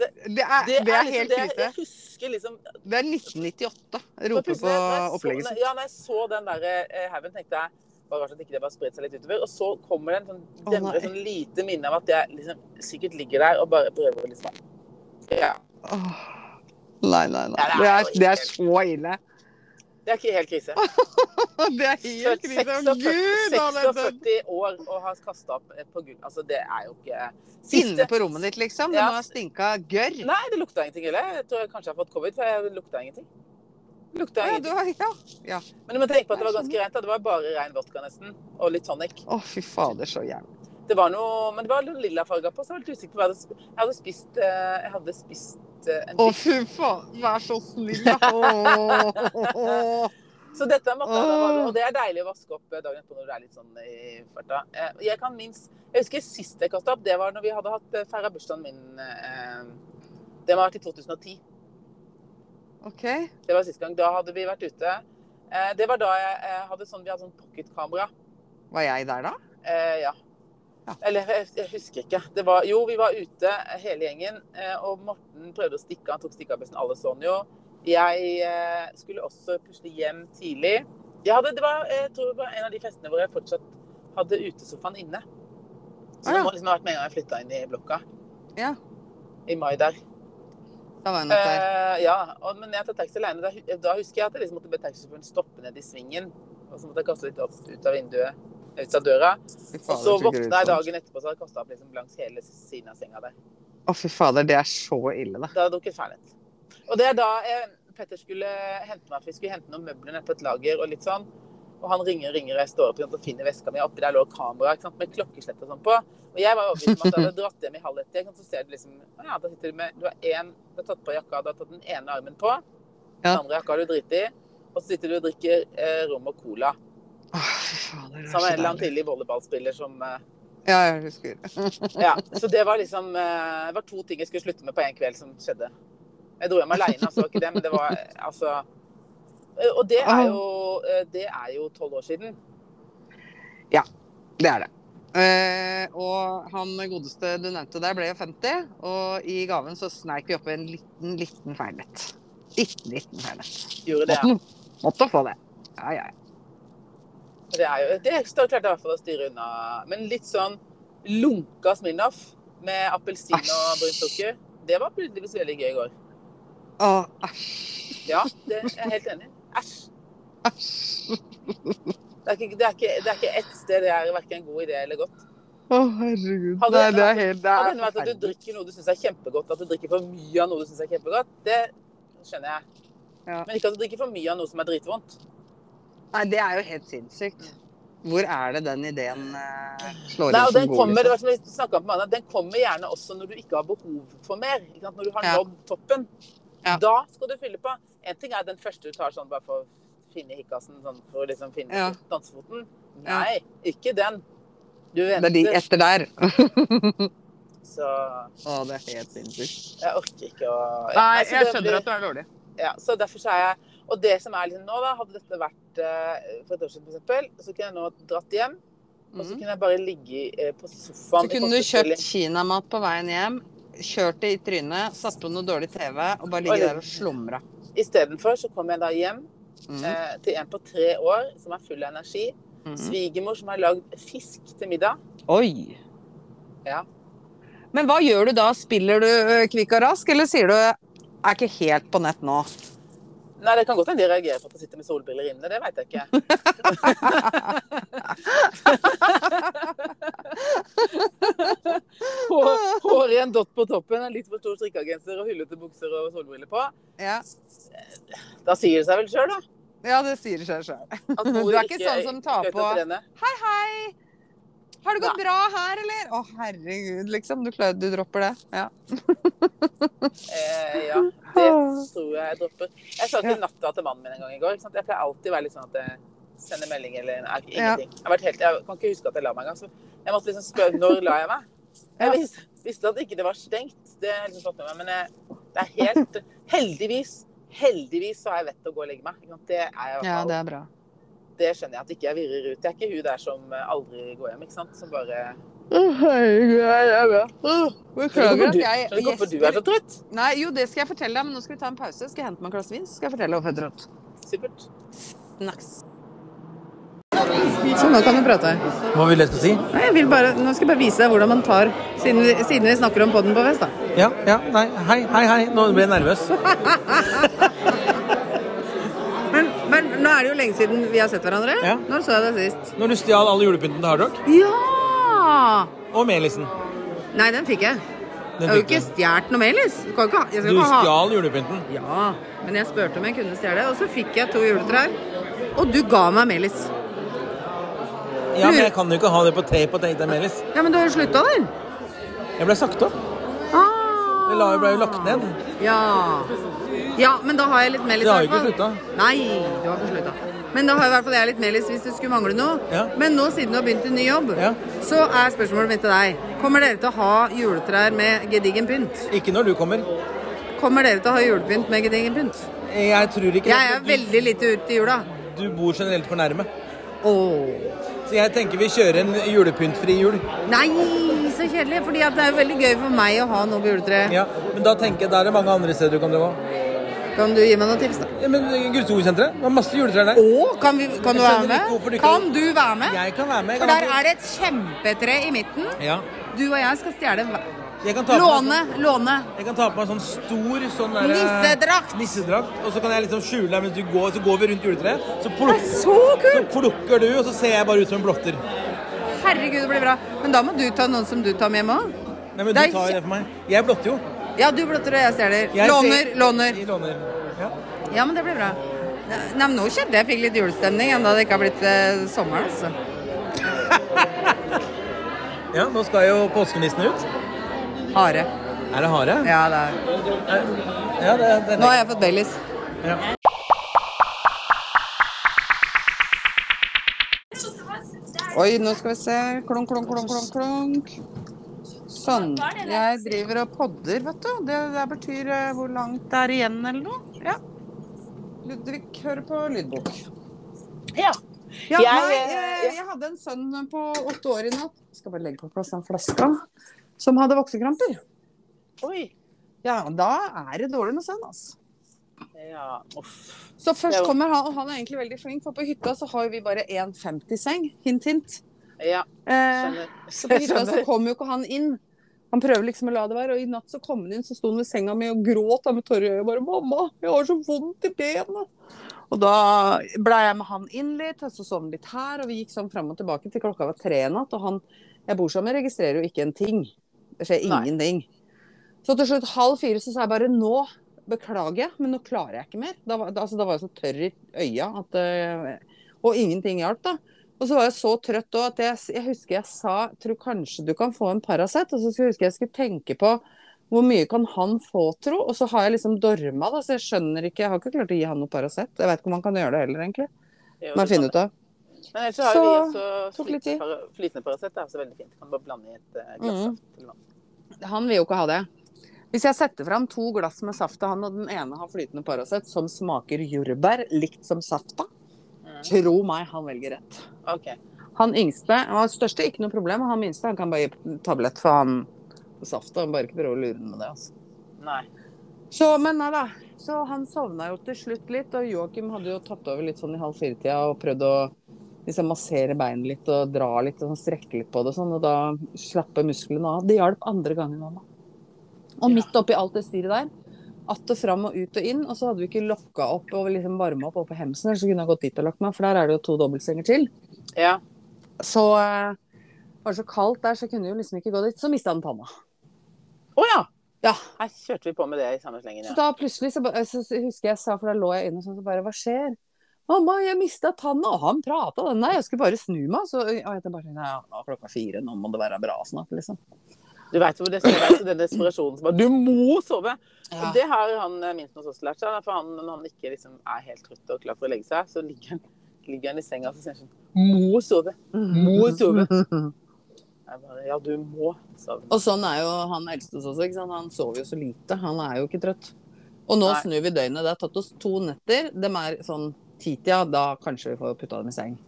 B: Det er, det er,
A: liksom
B: helt
A: det jeg-
B: krise.
A: Jeg husker liksom
B: Det er 1998.
A: For
B: Roper
A: plutselig,
B: på
A: når jeg så-
B: opplegget sitt.
A: Ja, når jeg så den der eh, haugen, tenkte jeg bare rart at ikke det bare spredt seg litt utover. Og så kommer det en sånn,
B: Å,
A: demre,
B: nei.
A: sånn lite minne av at jeg liksom sikkert ligger der og bare prøver å liksom Ja.
B: Åh. Nei, nei, nei.
A: Ja, det er
B: Det er,
A: jo
B: det er
A: helt-
B: så ille.
A: Det er ikke helt krise.
B: Det er helt krise. Å,
A: 46
B: Gud, Anette.
A: 46 år og har kasta opp eh, på gulvet. Altså, det er jo ikke
B: Inne på rommet ditt, liksom. Det
A: Ja.
B: må ha stinka gørr.
A: Nei, det lukta ingenting heller. Jeg tror jeg kanskje jeg har fått covid, for jeg lukta ingenting. Lukta
B: Ja, du
A: ingenting.
B: har, ja.
A: Men du må tenke på at det var
B: Jeg skjønner.
A: ganske rent. da. Det var bare rein vodka nesten, og litt tonic.
B: Å, fy fader, så jævlig.
A: Det var noe, men det var noen lilla farger på, så jeg var litt usikker på hva jeg hadde spist. Jeg hadde spist, eh, jeg hadde spist eh, en
B: Å,
A: biff.
B: fy faen. Vær så snill, da. Åh.
A: Så dette måtte jeg da bare,
B: Åh.
A: og det er deilig å vaske opp eh, dagen etterpå når det er litt sånn i farta. Eh, Jeg kan minst, jeg husker sist jeg kastet opp, det var når vi hadde hatt eh, feiret bursdagen min. eh, Det var til 2010.
B: OK.
A: Det var siste gang. Da hadde vi vært ute. Eh, Det var da jeg eh, hadde sånn, vi hadde sånn pocketkamera.
B: Var jeg der, da?
A: Eh, ja.
B: Ja.
A: Eller jeg, jeg husker ikke. Det var, jo, vi var ute hele gjengen, eh, og Morten prøvde å stikke. Han tok stikkearbeidelsen. Alle så han jo. Jeg eh, skulle også plutselig hjem tidlig. Jeg, hadde, det var, jeg tror det var en av de festene hvor jeg fortsatt hadde utesofaen inne. Så
B: Ah,
A: det
B: ja.
A: må liksom ha vært med en gang jeg flytta inn i blokka.
B: Ja.
A: I mai der.
B: Da var jeg nok der.
A: Eh, ja, og, men jeg tar taxi alene. Da, hu- da husker jeg at jeg liksom måtte be taxisjåføren stoppe ned i svingen. Og så måtte jeg kaste litt opp ut av vinduet, ut av døra.
B: Fy
A: Og
B: fader,
A: så
B: så
A: våkna jeg
B: grusomt.
A: dagen etterpå, så hadde jeg kasta opp liksom langs hele siden av senga der.
B: Å, fy fader, det er så ille, da.
A: Da hadde jeg drukket fernet. Og det er da eh, Petter skulle hente meg, for vi skulle hente noen møbler nede på et lager og litt sånn. Og han ringer og ringer, og jeg står opp og finner veska mi. og Oppi der lå kamera ikke sant, med klokkeslett og sånn på. Og jeg var jo overbevist om at jeg hadde dratt hjem i halv ett. ikke sant, Så ser du liksom «Å Ja, da sitter du med Du har én Du har tatt på jakka, du har tatt den ene armen på.
B: Ja.
A: Den andre jakka har du driti i. Og så sitter du og drikker eh, rom og cola.
B: Å, fy fader, det
A: Som en
B: er
A: eller
B: så
A: annen
B: deilig.
A: tidlig volleyballspiller som eh,
B: Ja, jeg husker.
A: Ja, så det var liksom eh, Det var to ting jeg skulle slutte med på én kveld som skjedde. Jeg dro hjem aleine, altså, det var ikke det, men det var eh, altså eh, Og det er jo eh, Det er jo tolv år siden.
B: Det er det. Eh, og han godeste du nevnte der, ble jo 50, og i gaven så sneik vi opp en liten, liten fernet. Liten, liten fernet.
A: Gjorde det. ja.
B: Måtte, måtte få det. Ja, ja. ja.
A: Det, er jo, det klarte jeg i hvert fall å styre unna. Men litt sånn lunka Smirnoff med appelsin og brunt sukker, det var tydeligvis veldig gøy i går.
B: Å, æsj.
A: Ja, det jeg er jeg helt enig i. Æsj.
B: Æsj.
A: Det er, ikke, det, er ikke, det er ikke ett sted det er verken god idé eller godt.
B: Å, herregud.
A: Hadde-
B: Nei, det er helt det
A: Kan
B: er
A: hende at du
B: forferdelig.
A: drikker noe du syns er kjempegodt, at du drikker for mye av noe du syns er kjempegodt, det skjønner jeg.
B: Ja.
A: Men ikke at du drikker for mye av noe som er dritvondt.
B: Nei, det er jo helt sinnssykt. Hvor er det den ideen eh, slår
A: Nei,
B: inn
A: og den
B: som god?
A: kommer, det
B: Liksom?
A: var som vi snakket om på mandag, den kommer gjerne også når du ikke har behov for mer. Ikke sant? Når du har
B: Ja.
A: nådd toppen.
B: Ja.
A: Da skal du fylle på. En ting er den første du tar sånn bare for å finne hikkasen, sånn for å liksom finne
B: Ja.
A: dansefoten.
B: Ja.
A: Nei, ikke den. Du
B: Det
A: venter.
B: er de etter der.
A: Så
B: Å, det er helt sinnssykt.
A: jeg orker ikke å Ja,
B: Nei,
A: altså,
B: jeg
A: det blir-
B: skjønner at du er dårlig.
A: Ja, så derfor så er jeg Og det som er liksom nå, da, hadde dette vært eh, for et år siden, for eksempel, så kunne jeg nå dratt hjem, og så
B: Mm.
A: kunne jeg bare ligge eh, på
B: Så
A: sofaen. i
B: kunne du
A: fosterstilling.
B: kjøpt kinamat på veien hjem, kjørt det i trynet, satt på noe dårlig TV og bare ligge der og slumre.
A: Istedenfor så kom jeg da hjem
B: Mm.
A: eh, til en på tre år som er full av energi.
B: Mm.
A: Svigermor som har lagd fisk til middag.
B: Oi!
A: Ja.
B: Men hva gjør du da? Spiller du ø, Kvikk og Rask, eller sier du er ikke helt på nett nå?
A: Nei, det kan godt hende de reagerer på at jeg sitter med solbriller inne, det veit jeg ikke. Hår- Håret i en dott på toppen, en litt for stor strikkegenser og hullete bukser og solbriller på.
B: Ja,
A: Da sier det seg vel sjøl, da.
B: ja det sier seg sjøl.
A: At
B: Du er
A: mor
B: ikke sånn som tar
A: ikke
B: på-
A: øker trærne.
B: Hei, hei! Har det gått bra her, eller? Å, herregud, liksom. Du, klarer, du dropper det. Ja.
A: Eh, ja, det tror jeg jeg dropper. Jeg sa til natta til mannen min en gang i går. Ikke sant? Jeg pleier alltid å være litt sånn at jeg sender melding eller nei, ingenting. Jeg, har vært helt, jeg kan ikke huske at jeg la meg engang. Så jeg måtte liksom spørre når la jeg meg. Jeg
B: Ja.
A: visste, visste at ikke det var stengt, det har jeg liksom fått med meg. Men jeg, det er helt Heldigvis, heldigvis så har jeg vett å gå og legge meg. Ikke sant? Det er jeg i hvert
B: ja,
A: fall.
B: det er bra.
A: Det skjønner jeg at ikke jeg virrer ut. Jeg er ikke hun der som eh, aldri går hjem, ikke sant. Som bare
B: Herregud, det er bra.
A: Skjønner du
B: Beklager
A: hvorfor du-
B: at jeg
A: skjønner du hvorfor du er
B: gjesper.
A: så trøtt?
B: Nei, jo, det skal jeg fortelle deg, men nå skal vi ta en pause. Skal jeg hente meg et glass vin, så skal jeg fortelle deg hvorfor jeg er trøtt.
A: Supert.
B: Nice. Så nå kan du prate.
D: Hva vil dere si?
B: Nei, jeg vil bare, nå skal jeg bare vise deg hvordan man tar, siden vi, siden vi snakker om podden på fest, da.
D: Ja, ja, nei, hei, hei, hei. Nå ble jeg nervøs.
B: Men, men nå er det jo lenge siden vi har sett hverandre.
D: Ja.
B: Når så jeg deg sist?
D: Når du stjal alle julepynten til Hardrock,
B: Ja!
D: og Melisen.
B: Nei, den fikk jeg. jeg
D: Den
B: har jo
D: fikk
B: ikke
D: du.
B: stjålet noe melis. Du kan ikke ha- Jeg skal
D: Du
B: ikke ha
D: stjal julepynten.
B: Ja, men jeg spurte om jeg kunne stjele, og så fikk jeg to juletrær. Og du ga meg melis.
D: Ja, men jeg kan jo ikke ha det på tape og tape Melis.
B: Ja, men du har jo slutta der.
D: Jeg ble sagt opp.
B: Ah.
D: Det la- ble jo lagt ned.
B: Ja. ja, men da har jeg litt melis.
D: Det har
B: i
D: jo ikke
B: hvert fall. Nei, du har ikke slutta. Men da har i hvert fall jeg litt melis hvis det skulle mangle noe.
D: Ja.
B: Men nå siden du har begynt i ny jobb,
D: Ja.
B: så er spørsmålet mitt til deg. Kommer dere til å ha juletrær med gedigen pynt?
D: Ikke når du kommer.
B: Kommer dere til å ha julepynt med gedigen pynt?
D: Jeg tror ikke det,
B: Jeg er
D: for
B: veldig lite ute i jula.
D: Du, du bor generelt for nærme.
B: Åh.
D: Så jeg tenker vi kjører en julepyntfri jul.
B: Nei, så kjedelig. Fordi at det er jo veldig gøy for meg å ha noe på juletreet.
D: Ja, men da tenker jeg da er det mange andre steder du kan dra på.
B: Kan du gi meg noen tips, da?
D: Ja, men Guttorgsenteret har masse juletrær der.
B: Å, kan, vi, kan du
D: Jeg
B: være
D: skjønner ikke hvorfor du
B: med?
D: ikke-
B: Kan du være med?
D: Jeg kan være med. Jeg
B: For
D: kan
B: der
D: være med.
B: er det et kjempetre i midten.
D: Ja.
B: Du og jeg skal stjele hver-
D: Jeg kan ta på meg-
B: Låne, låne.
D: Jeg kan ta på meg en sånn stor sånn der,
B: Nissedrakt!
D: nissedrakt, Og så kan jeg liksom skjule deg mens du går, så går vi rundt juletreet. Så, pluk,
B: Så
D: så
B: kult!
D: plukker du, og så ser jeg bare ut som en blotter.
B: Herregud, det blir bra. Men da må du ta noen som du tar med hjem òg.
D: Nei,
B: Det
D: men du
B: er
D: tar jo det for meg. Jeg blotter jo.
B: Ja, du blotter og jeg stjeler.
D: Jeg
B: Låner,
D: ser-
B: låner.
D: Jeg låner. Ja.
B: Ja, men det blir bra. Nei, men nå kjente jeg fikk litt julestemning, enda det ikke har blitt eh, sommer, altså.
D: ja, nå skal jo påskenissen ut.
B: Hare.
D: Er det hare? Eh,
B: Ja, det er
D: Ja, det, det,
B: Nå har jeg fått Baileys.
D: Ja.
B: Oi, nå skal vi se. Klunk, klunk, klunk, klunk, klunk. Sånn. Jeg driver og podder, vet du. Det, det betyr eh, hvor langt det er igjen eller noe. Ja. Ludvig hører på lydbok.
A: Ja.
B: Ja,
A: Jeg,
B: nei,
A: eh,
B: jeg, jeg hadde en sønn på åtte år i natt. Skal bare legge på plass den flaska. Som hadde voksekramper.
A: Oi.
B: Ja, da er det dårlig med sønn, altså.
A: Ja, uff.
B: Så først
A: Ja.
B: kommer han, og han er egentlig veldig flink, for på hytta så har jo vi bare 1,50-seng. Hint, hint.
A: Ja,
B: Eh,
A: skjønner.
B: så på hytta så kom jo ikke han inn. Han prøver liksom å la det være, og i natt så kom han inn, så sto han ved senga mi og gråt da med tårer i øyet. Bare 'Mamma, jeg har så vondt i bena'. Og da blei jeg med han inn litt, og så sov han litt her, og vi gikk sånn fram og tilbake til klokka var tre i natt. Og han jeg bor sammen med, registrerer jo ikke en ting. Det skjer
A: Nei.
B: ingenting. Så til slutt halv fire så sa jeg bare 'Nå beklager jeg, men nå klarer jeg ikke mer'. Da var, da, altså, da var jeg så tørr i øya at eh, Og ingenting hjalp, da. Og så var jeg så trøtt òg at jeg, jeg husker jeg sa tror kanskje du kan få en Paracet. Og så skulle jeg huske jeg skulle tenke på hvor mye kan han få, tro. Og så har jeg liksom dorma, da, så jeg skjønner ikke Jeg har ikke klart å gi han noe Paracet. Jeg veit ikke om han kan gjøre det heller, egentlig.
A: Jo,
B: Må
A: det
B: jeg
A: kan
B: finne ut av.
A: det. Men ellers så har jo vi
B: Så,
A: også
B: tok
A: flytende
B: litt tid.
A: para- flytende Paracet. Det er også veldig fint. Kan bare blande i et eh, glass
B: Mhm.
A: saft eller noe.
B: Han vil jo ikke ha det. Hvis jeg setter fram to glass med saft til han, og den ene har flytende Paracet som smaker jordbær likt som safta, tro meg, han velger rett.
A: Mm. OK.
B: Han yngste, han største, ikke noe problem. Han minste han kan bare gi tablett for han safta. Bare ikke prøve å lure han med det, altså.
A: Nei.
B: Så, men nei da. Så han sovna jo til slutt litt, og Joakim hadde jo tatt over litt sånn i halv fire-tida og prøvd å liksom massere beinet litt og dra litt og sånn, strekke litt på det og sånn, og da slapper musklene av. Det hjalp andre gangen òg, da. Og
A: Ja.
B: midt oppi alt det styret der, att og fram og ut og inn, og så hadde vi ikke lokka opp og liksom varma opp oppe på hemsen, ellers så kunne jeg gått dit og lagt meg, for der er det jo to dobbeltsenger til.
A: Ja.
B: Så eh, var det så kaldt der, så jeg kunne jo liksom ikke gå dit. Så mista han panna.
A: Å ja!
B: Ja,
A: Her kjørte vi på med det i samme slengen,
B: Så
A: ja.
B: da plutselig så, ba- så husker jeg sa, for da lå jeg inne og sånn, så bare hva skjer? Mamma, jeg mista tanna, og han prata den der, jeg skulle bare snu meg. Så og jeg tenkte bare nei, ja, nå er klokka fire, nå må det være bra snart, liksom.
A: Du veit hvor det skal være så den desperasjonen som bare Du må sove! Og
B: Ja.
A: det har han eh, minst hos oss lært seg. da, For han, når han ikke liksom er helt trøtt og klar for å legge seg, så ligger han, ligger han i senga og så sier han sånn Må sove!
B: Mm.
A: Må sove! Jeg bare Ja, du må sove.
B: Og sånn er jo han eldste hos oss, ikke sant. Han sover jo så lite, han er jo ikke trøtt. Og nå
A: Nei.
B: snur vi døgnet, det har tatt oss to netter. Dem er sånn titida, da kanskje vi får putta dem i seng.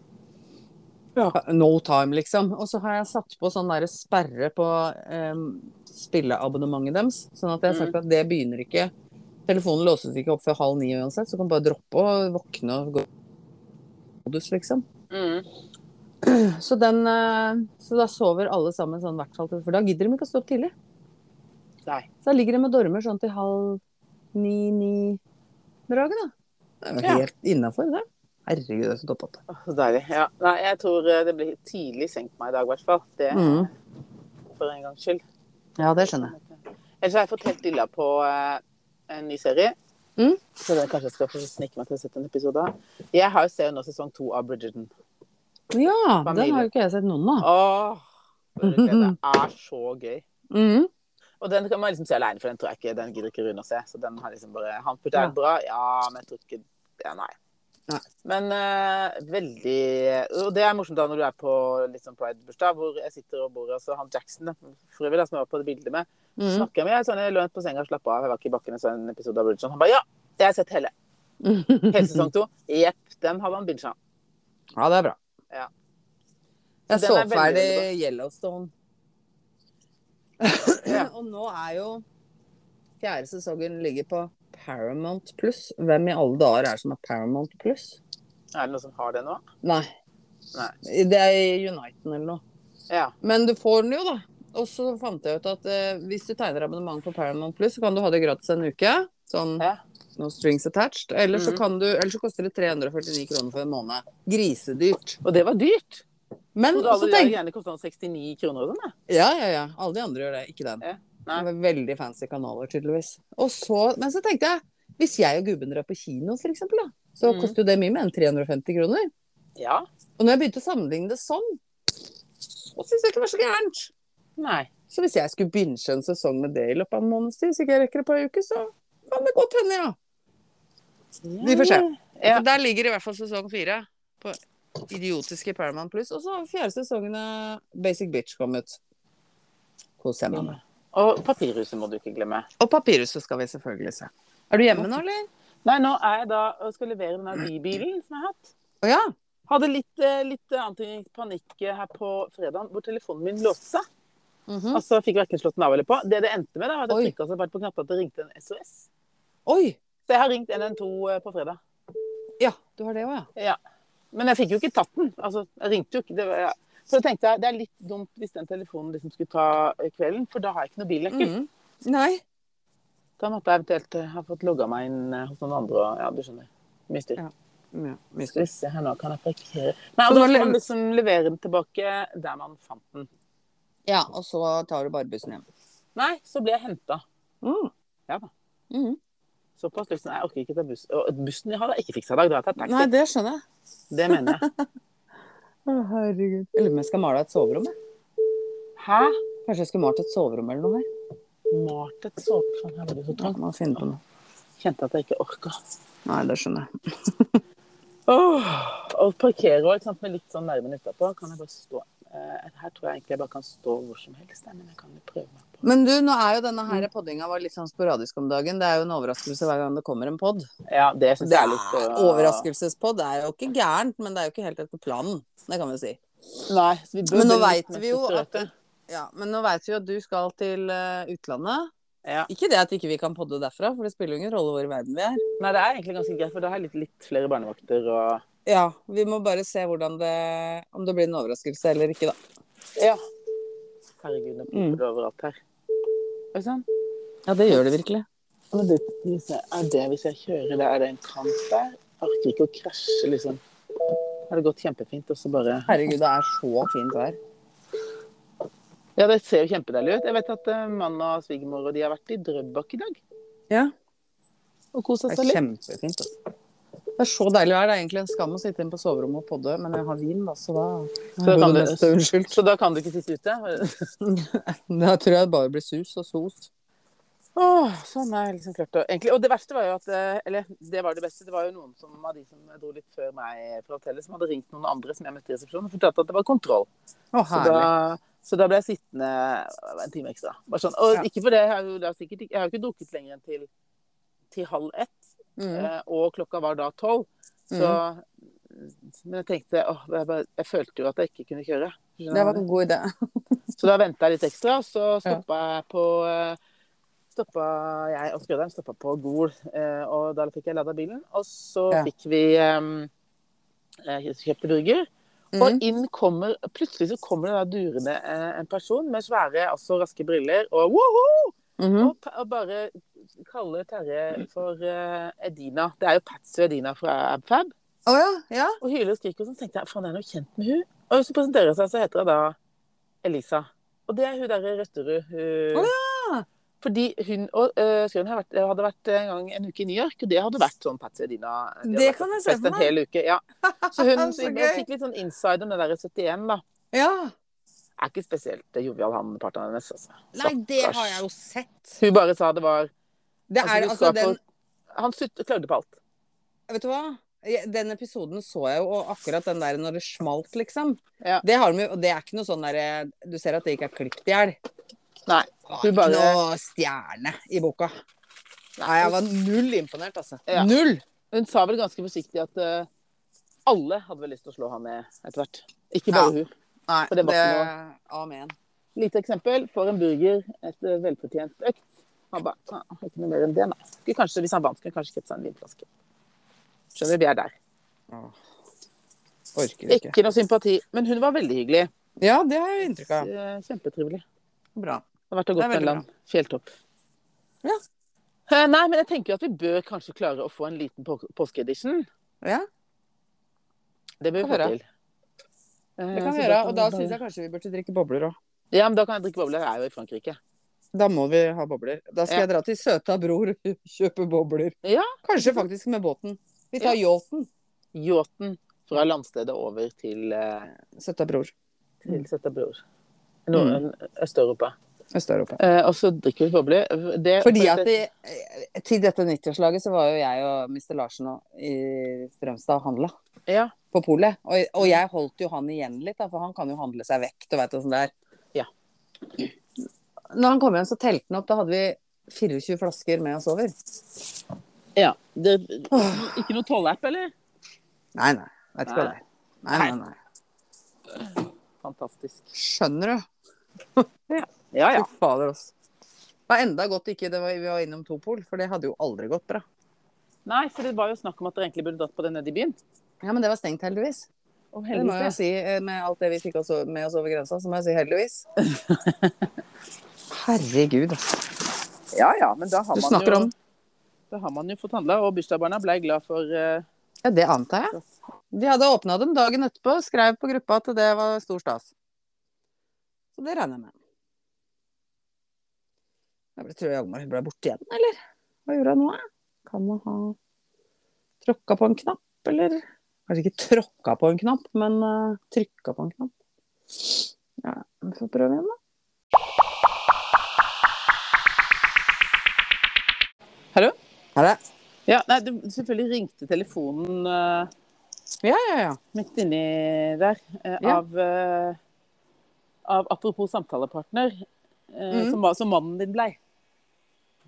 B: No time, liksom. Og så har jeg satt på sånn der sperre på um, spilleabonnementet deres. Sånn at jeg har sagt at det begynner ikke. Telefonen låses ikke opp før halv ni uansett, så du kan bare droppe og våkne og gå i modus, liksom.
A: Mm.
B: Så, den, eh, så da sover alle sammen sånn hvert fall, til- for da gidder de ikke å stå opp tidlig.
A: Nei.
B: Så da ligger de og dormer sånn til halv ni-ni-draget, da. Det er jo
A: Ja.
B: helt innafor, det. Herregud, det er så toppete.
A: Å, Så deilig. Ja. Nei, jeg tror eh, det blir tidlig senkt meg i dag, i hvert fall. Det eh,
B: Mm.
A: for en gangs skyld.
B: Ja, det skjønner jeg.
A: Ellers har jeg fått helt dilla på eh, en ny serie.
B: Mm.
A: Så det kanskje jeg skal få snike meg til å sette en episode av. Jeg har jo ser jo nå sesong to av Bridgerton.
B: Ja, den
A: Familie.
B: har jo ikke jeg sett noen av.
A: Åh, bør du se, det er så gøy.
B: Mhm.
A: Og den kan man liksom se alene, for den tror jeg ikke den gidder ikke Rune å se. Så den har liksom bare Han putter
B: Ja.
A: er det bra, ja, men jeg tror ikke ja, Nei.
B: Nei.
A: Men eh, veldig Og det er morsomt da når du er på litt sånn pride-bursdag, hvor jeg sitter og bor og så han Jackson, da, for øvrig, da, som jeg var på det bildet med,
B: Mhm.
A: snakker jeg med. Jeg, er sånn, jeg lå på senga og slappa av, jeg var ikke i bakken og så en episode av Bridgerton. Han bare ja, det har jeg sett hele. Hele sesong to. Jepp, den hadde han bincha.
B: Ja, det er bra.
A: Ja. Så den
B: Jeg så
A: er veldig,
B: ferdig
A: veldig
B: Yellowstone.
A: Ja.
B: Og nå er jo fjerde sesongen ligger på Paramount pluss. Hvem i alle dager er det som er Paramount pluss?
A: Er det noen som har det nå?
B: Nei.
A: Nei.
B: Det er Uniten eller noe.
A: Ja.
B: Men du får den jo, da. Og så fant jeg ut at eh, hvis du tegner abonnement på Paramount pluss, så kan du ha det gratis en uke. Sånn
A: Ja.
B: no strings attached. Eller så
A: Mhm.
B: kan du Eller så koster det 349 kroner for en måned. Grisedyrt.
A: Og det var dyrt.
B: Men
A: Trodde
B: så
A: alle
B: tenk
A: de gjerne kostet sånn 69 kroner og sånn, jeg.
B: Ja, ja, ja. Alle de andre gjør det, ikke den.
A: Ja,
B: Det
A: nei.
B: var veldig fancy kanaler, tydeligvis. Og så, men så tenkte jeg, hvis jeg og gubben drar på kino, for eksempel, da, så
A: Mhm.
B: koster jo det mye mer enn 350 kroner.
A: Ja.
B: Og når jeg begynte å sammenligne det sånn, så syns jeg ikke det var så gærent.
A: Nei.
B: Så hvis jeg skulle binge en sesong med det i løpet av en måneds tid, hvis ikke jeg rekker det på ei uke, så kan det godt hende, ja. Vi får se.
A: Ja.
B: Så Der ligger i hvert fall sesong fire på idiotiske Paramount Plus. Og så har fjerde sesongen av Basic Bitch kommet. Kos deg med det.
A: Og papirhuset må du ikke glemme.
B: Mm. Og papirhuset skal vi selvfølgelig se. Er du hjemme nå, eller?
A: Nei, nå er jeg da og skal levere denne bybilen som jeg har hatt.
B: Å ja.
A: Hadde litt, eh, litt annet panikk her på fredagen, hvor telefonen min låste seg.
B: Mhm.
A: Altså fikk verken slått den av eller på. Det det endte med, da, var at
B: Mm. Oi.
A: jeg trykka så fælt på knappen at det ringte en SOS.
B: Oi!
A: Så jeg har ringt 112 eh, på fredag.
B: Ja, du har det òg, ja.
A: Men jeg fikk jo ikke tatt den. Altså, jeg ringte jo ikke. Det var, ja. Så jeg tenkte jeg, det er litt dumt hvis den telefonen liksom skulle ta eh, kvelden, for da har jeg ikke noe billøkkel.
B: Mm. Mhm. Nei.
A: Da måtte jeg eventuelt eh, ha fått logga meg inn eh, hos noen andre og Ja, du skjønner. Mye styr.
B: Ja,
A: Skal vi se her nå, kan jeg parkere Nei,
B: Så
A: og da
B: nå
A: skal
B: lever-
A: man liksom levere den tilbake der man fant den.
B: ja, og så tar du bare bussen hjem.
A: Nei, så ble jeg henta.
B: Mm.
A: Ja da.
B: Mhm.
A: Såpass liksom, jeg orker ikke ta buss. Og bussen jeg har da ikke fiksa i dag, da har jeg tatt taxi.
B: Nei, det skjønner jeg.
A: Det mener jeg.
B: Å, herregud. Jeg lurer på om jeg skal male et soverom. jeg.
A: Hæ?
B: Kanskje jeg skulle malt et soverom eller noe? jeg.
A: Malt et såpefaen, her var det så
B: Ja,
A: trangt.
B: må finne på noe.
A: Kjente at jeg ikke orka.
B: Nei, det skjønner jeg.
A: Åh, og parkere også, ikke sant, med litt sånn nærmen utapå, kan jeg bare stå Eh, her tror jeg egentlig jeg bare kan stå hvor som helst, jeg, men jeg kan jo prøve meg på
B: Men du, nå er jo denne her poddinga vår litt sånn sporadisk om dagen. Det er jo en overraskelse hver gang det kommer en podd.
A: Ja, det synes
B: Det
A: jeg er
B: er øh,
A: litt eh,
B: Overraskelsespodd er jo ikke gærent, men det er jo ikke helt etter planen. Det kan vi si.
A: Nei, så vi bør
B: Men nå
A: bli
B: vet
A: litt mer
B: vi jo at-
A: strukturerte.
B: Ja, Men nå veit vi jo at du skal til eh, utlandet.
A: Ja.
B: Ikke det at ikke vi kan podde derfra, for det spiller jo ingen rolle hvor i verden vi er.
A: Nei, det er egentlig ganske greit, for da har jeg litt, litt flere barnevakter og
B: Ja, Vi må bare se hvordan det, om det blir en overraskelse eller ikke, da.
A: Ja. Herregud, nå piper
B: Mm.
A: det overalt her. Oi sann.
B: Ja, det gjør det virkelig.
A: Men det, hvis jeg, er det hvis jeg kjører der, er det en kant der? Orker ikke å krasje, liksom. Har det gått kjempefint, og så bare
B: Herregud, det er så fint vær.
A: Ja, det ser jo kjempedeilig ut. Jeg vet at eh, mann og svigermor og de har vært i Drøbak i dag.
B: Ja,
A: Og kosa
B: det
A: seg
B: er
A: litt.
B: kjempefint. altså. Det er så deilig vær. Det er egentlig en skam å sitte inne på soverommet og podde, men jeg har vin, da, så da
A: da kan
B: Både
A: du-
B: meste Unnskyld.
A: Så da kan du ikke sitte ute?
B: Da tror jeg det bare blir sus og sos.
A: Åh, sånn er jeg liksom klart å egentlig. Og det verste var jo at eh, Eller det var det beste. Det var jo noen som, av de som dro litt før meg fra hotellet, som hadde ringt noen andre som jeg møtte i resepsjonen, og fortalte at det var kontroll.
B: Å,
A: Så
B: herlig.
A: da, så da ble jeg sittende en time ekstra. Bare sånn. Og
B: Ja.
A: ikke for det, jeg har jo da sikkert ikke Jeg har jo ikke drukket lenger enn til, til halv ett,
B: Mm.
A: eh, og klokka var da tolv. Så Men jeg tenkte åh, jeg, bare, jeg følte jo at jeg ikke kunne kjøre. Skjønner
B: Det
A: du?
B: var en god idé.
A: Så da venta jeg litt ekstra, og så stoppa jeg på eh, Stoppa jeg og skrøderen stoppa på Gol, eh, og da fikk jeg lada bilen. Og så
B: Ja.
A: fikk vi eh, eh, kjøpte burger.
B: Mhm.
A: Og inn kommer Plutselig så kommer det da durende eh, en person med svære, altså raske briller og woho!
B: Mhm.
A: Og, pa- og bare kaller Terje for eh, Edina. Det er jo Patsy og Edina fra Abfab.
B: Å ja, ja.
A: Og hyler og skriker, og sånn tenkte jeg, faen, jeg er noe kjent med hun. Og så presenterer hun seg, så heter hun da Elisa. Og det er hun der i Røtterud. Hun...
B: Å,
A: Fordi hun og uh, Skrøn har vært, hadde vært en gang en uke i New York, og det hadde vært sånn Patsy og Dina. de hadde
B: Det
A: vært
B: kan
A: på
B: jeg se
A: fest
B: for
A: en
B: meg.
A: hel uke, ja. Så hun
B: Så
A: så jeg
B: gøy.
A: fikk litt sånn inside om det der 71, da.
B: Ja.
A: Er ikke spesielt eh, jovial, han partneren hennes, altså.
B: Nei, det har jeg jo sett.
A: Hun bare sa det var
B: Det
A: Altså,
B: er
A: du
B: altså
A: skal
B: den
A: Han sutt, klagde på alt.
B: Vet du hva? Jeg- Den episoden så jeg jo, og akkurat den der når det smalt, liksom.
A: Ja.
B: Det har de jo, og det er ikke noe sånn derre Du ser at det ikke er klippet i hjel.
A: Nei.
B: Det
A: Hun
B: var
A: bare-
B: Ikke noe stjerne i boka. Nei, jeg var null imponert, altså.
A: Ja.
B: Null!
A: Hun sa vel ganske forsiktig at eh, alle hadde vel lyst til å slå han ned etter hvert. Ikke
B: Ja.
A: bare hun.
B: Nei,
A: For
B: det
A: det var ikke
B: Amen.
A: Lite eksempel. Får en burger, et eh, velfortjent økt. Han ba, «Ah, ikke noe mer enn det, nei. Skulle kanskje, hvis han vant, skulle han kanskje kjøpt seg en vinflaske. Skjønner, vi er der.
B: Orker ikke.
A: Ikke noe sympati. Men hun var veldig hyggelig.
B: Ja, det har jeg inntrykk av.
A: Eh, Kjempetrivelig.
B: Bra.
A: Har vært og
B: Det er
A: gått på en
B: veldig
A: eller annen fjelltopp.
B: Ja.
A: Eh, Nei, men jeg tenker jo at vi bør kanskje klare å få en liten på påskeedition.
B: Ja,
A: Det bør vi
B: Kan
A: få
B: være.
A: til. Eh,
B: det kan
A: så
B: vi gjøre.
A: kan
B: Og
A: vi
B: da
A: bare-
B: syns jeg kanskje vi burde drikke bobler òg.
A: Ja, men da kan jeg drikke bobler. Jeg er jo i Frankrike.
B: Da må vi ha bobler. Da skal
A: Ja.
B: jeg dra til søta bror kjøpe bobler.
A: Ja.
B: Kanskje faktisk med båten. Vi tar yachten.
A: Yachten fra landstedet over til, eh,
B: Søta bror. Mm.
A: til Settebror. Nord- Øst-Europa.
B: Øst-Europa.
A: Eh, og så drikker vi bobler. Det,
B: Fordi at de, eh, til dette 90-årslaget så var jo jeg og Mr. Larsen og, i Strømstad og handla
A: Ja.
B: på polet. Og, og jeg holdt jo han igjen litt, da, for han kan jo handle seg vekk. Du vet, det er.
A: Ja.
B: Når han kom hjem, så telte han opp. Da hadde vi 24 flasker med oss over.
A: ja. Det, ikke noe tollapp, eller?
B: Nei, nei. Vet ikke hva det er. Nei, nei, nei.
A: Fantastisk.
B: Skjønner du?
A: Ja, ja.
B: Fy fader, altså. Det var enda godt ikke det var, vi var innom to pol, for det hadde jo aldri gått bra.
A: Nei, for det var jo snakk om at dere egentlig burde dratt på det nede i byen.
B: Ja, men det var stengt, heldigvis.
A: Og
B: Det må jeg
A: heldigvis det.
B: si, eh, med alt det vi fikk også, med oss over grensa, så må jeg si heldigvis. Herregud, altså.
A: Ja, ja, men da har
B: Du
A: man
B: snakker
A: jo,
B: om
A: Da har man jo fått handla, og bursdagsbarna ble glad for eh,
B: Ja, det antar jeg. De hadde åpna dem dagen etterpå, skrev på gruppa at det var stor stas. Så det regner jeg med. Jeg ble, tror Hjalmar ble borte igjen, eller? Hva gjorde hun nå? eh? Kan hun ha tråkka på en knapp, eller? Kanskje ikke tråkka på en knapp, men uh, trykka på en knapp. Ja, vi får prøve igjen, da.
A: Hallo?
B: Er det?
A: Ja, nei, det, selvfølgelig ringte telefonen eh,
B: Ja, ja, ja.
A: midt inni der eh,
B: Ja.
A: av eh, av Apropos samtalepartner, eh,
B: Mm.
A: som, var- som mannen din blei.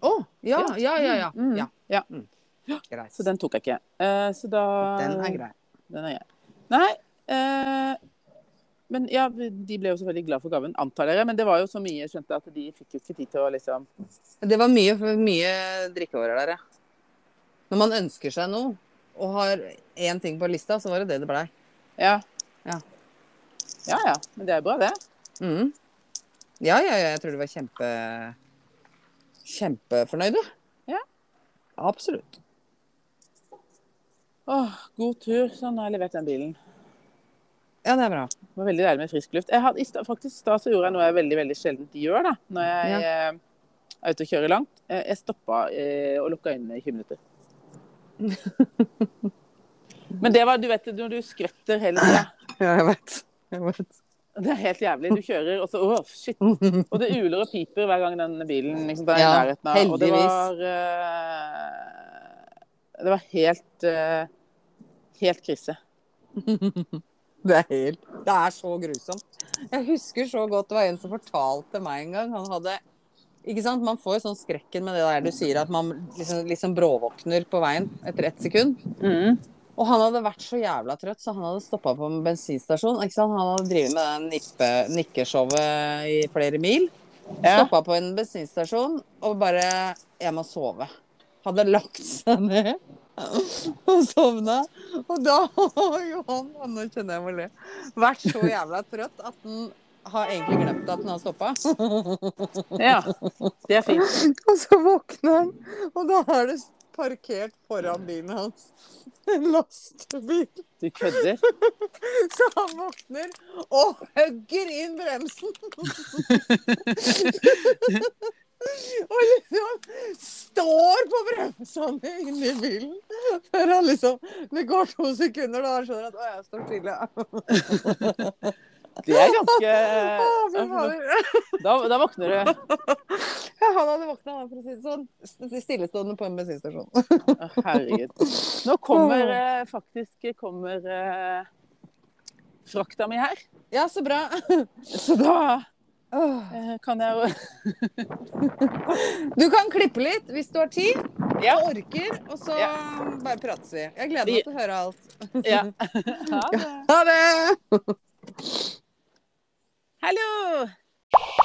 B: Å, ja, ja, ja. ja,
A: Mm.
B: ja.
A: Så den tok jeg ikke. Eh, så da
B: Den er grei.
A: Den er grei. Nei. eh, men ja, de ble jo selvfølgelig glad for gaven, antar dere. Men det var jo så mye jeg skjønte at de fikk jo ikke tid til å liksom
B: Det var mye, mye drikkeårer der, ja. Når man ønsker seg noe og har én ting på lista, så var det det det blei.
A: Ja.
B: Ja.
A: ja ja. Men det er bra, det.
B: Mm. Ja, ja, ja, jeg tror du var kjempe kjempefornøyd, du.
A: Ja.
B: Absolutt.
A: Åh, god tur. Sånn har jeg levert den bilen.
B: Ja, det er bra.
A: Det var veldig deilig med frisk luft. Jeg hadde, i sta- faktisk i stad så gjorde jeg noe jeg veldig veldig sjeldent gjør da, når jeg eh, er ute og kjører langt. Eh, Jeg stoppa eh, og lukka øynene i 20 minutter. Men det var du vet, når du skvetter hele tida.
B: Ja, jeg vet. Jeg vet.
A: Det er helt jævlig. Du kjører, og så åh, shit. Og det uler og piper hver gang den bilen ikke sant, er i
B: Ja,
A: nærheten av. Og det
B: heldigvis.
A: var eh, Det var helt eh, Helt krise.
B: Det er helt Det er så grusomt. Jeg husker så godt det var en som fortalte meg en gang. Han hadde Ikke sant, man får sånn skrekken med det der du sier at man liksom, liksom bråvåkner på veien etter ett sekund. Mm. Og han hadde vært så jævla trøtt, så han hadde stoppa på en bensinstasjon. Ikke sant? Han hadde drevet med det nippe, nikkeshowet i flere mil.
A: Ja.
B: Stoppa på en bensinstasjon og bare 'Jeg må sove'. Hadde lagt seg ned og sovna. Og da har jo han og Nå kjenner jeg meg le. Vært så jævla trøtt at han har egentlig glemt at han har stoppa.
A: Ja. Det er fint.
B: Og så våkner han, og da er det parkert foran bilen hans en lastebil.
A: Du kødder.
B: Så han våkner og hugger inn bremsen. og liksom står på bremsene inni bilen. Før han liksom Det går to sekunder, da han skjønner at Å, jeg står stille.
A: Det er ganske
B: Å, fy fader.
A: da, da våkner du.
B: Han hadde våkna, han, for å si det sånn. St- Stillestående på en bensinstasjon.
A: Å, Herregud. Nå kommer eh, faktisk kommer eh, frakta mi her.
B: Ja, så bra.
A: Så da
B: Åh.
A: eh, kan jeg jo
B: Du kan klippe litt hvis du har tid
A: Ja.
B: og orker, og så bare prates vi. Jeg gleder meg til å høre alt.
A: ja. Ha det.
B: Ha det!
A: Hallo!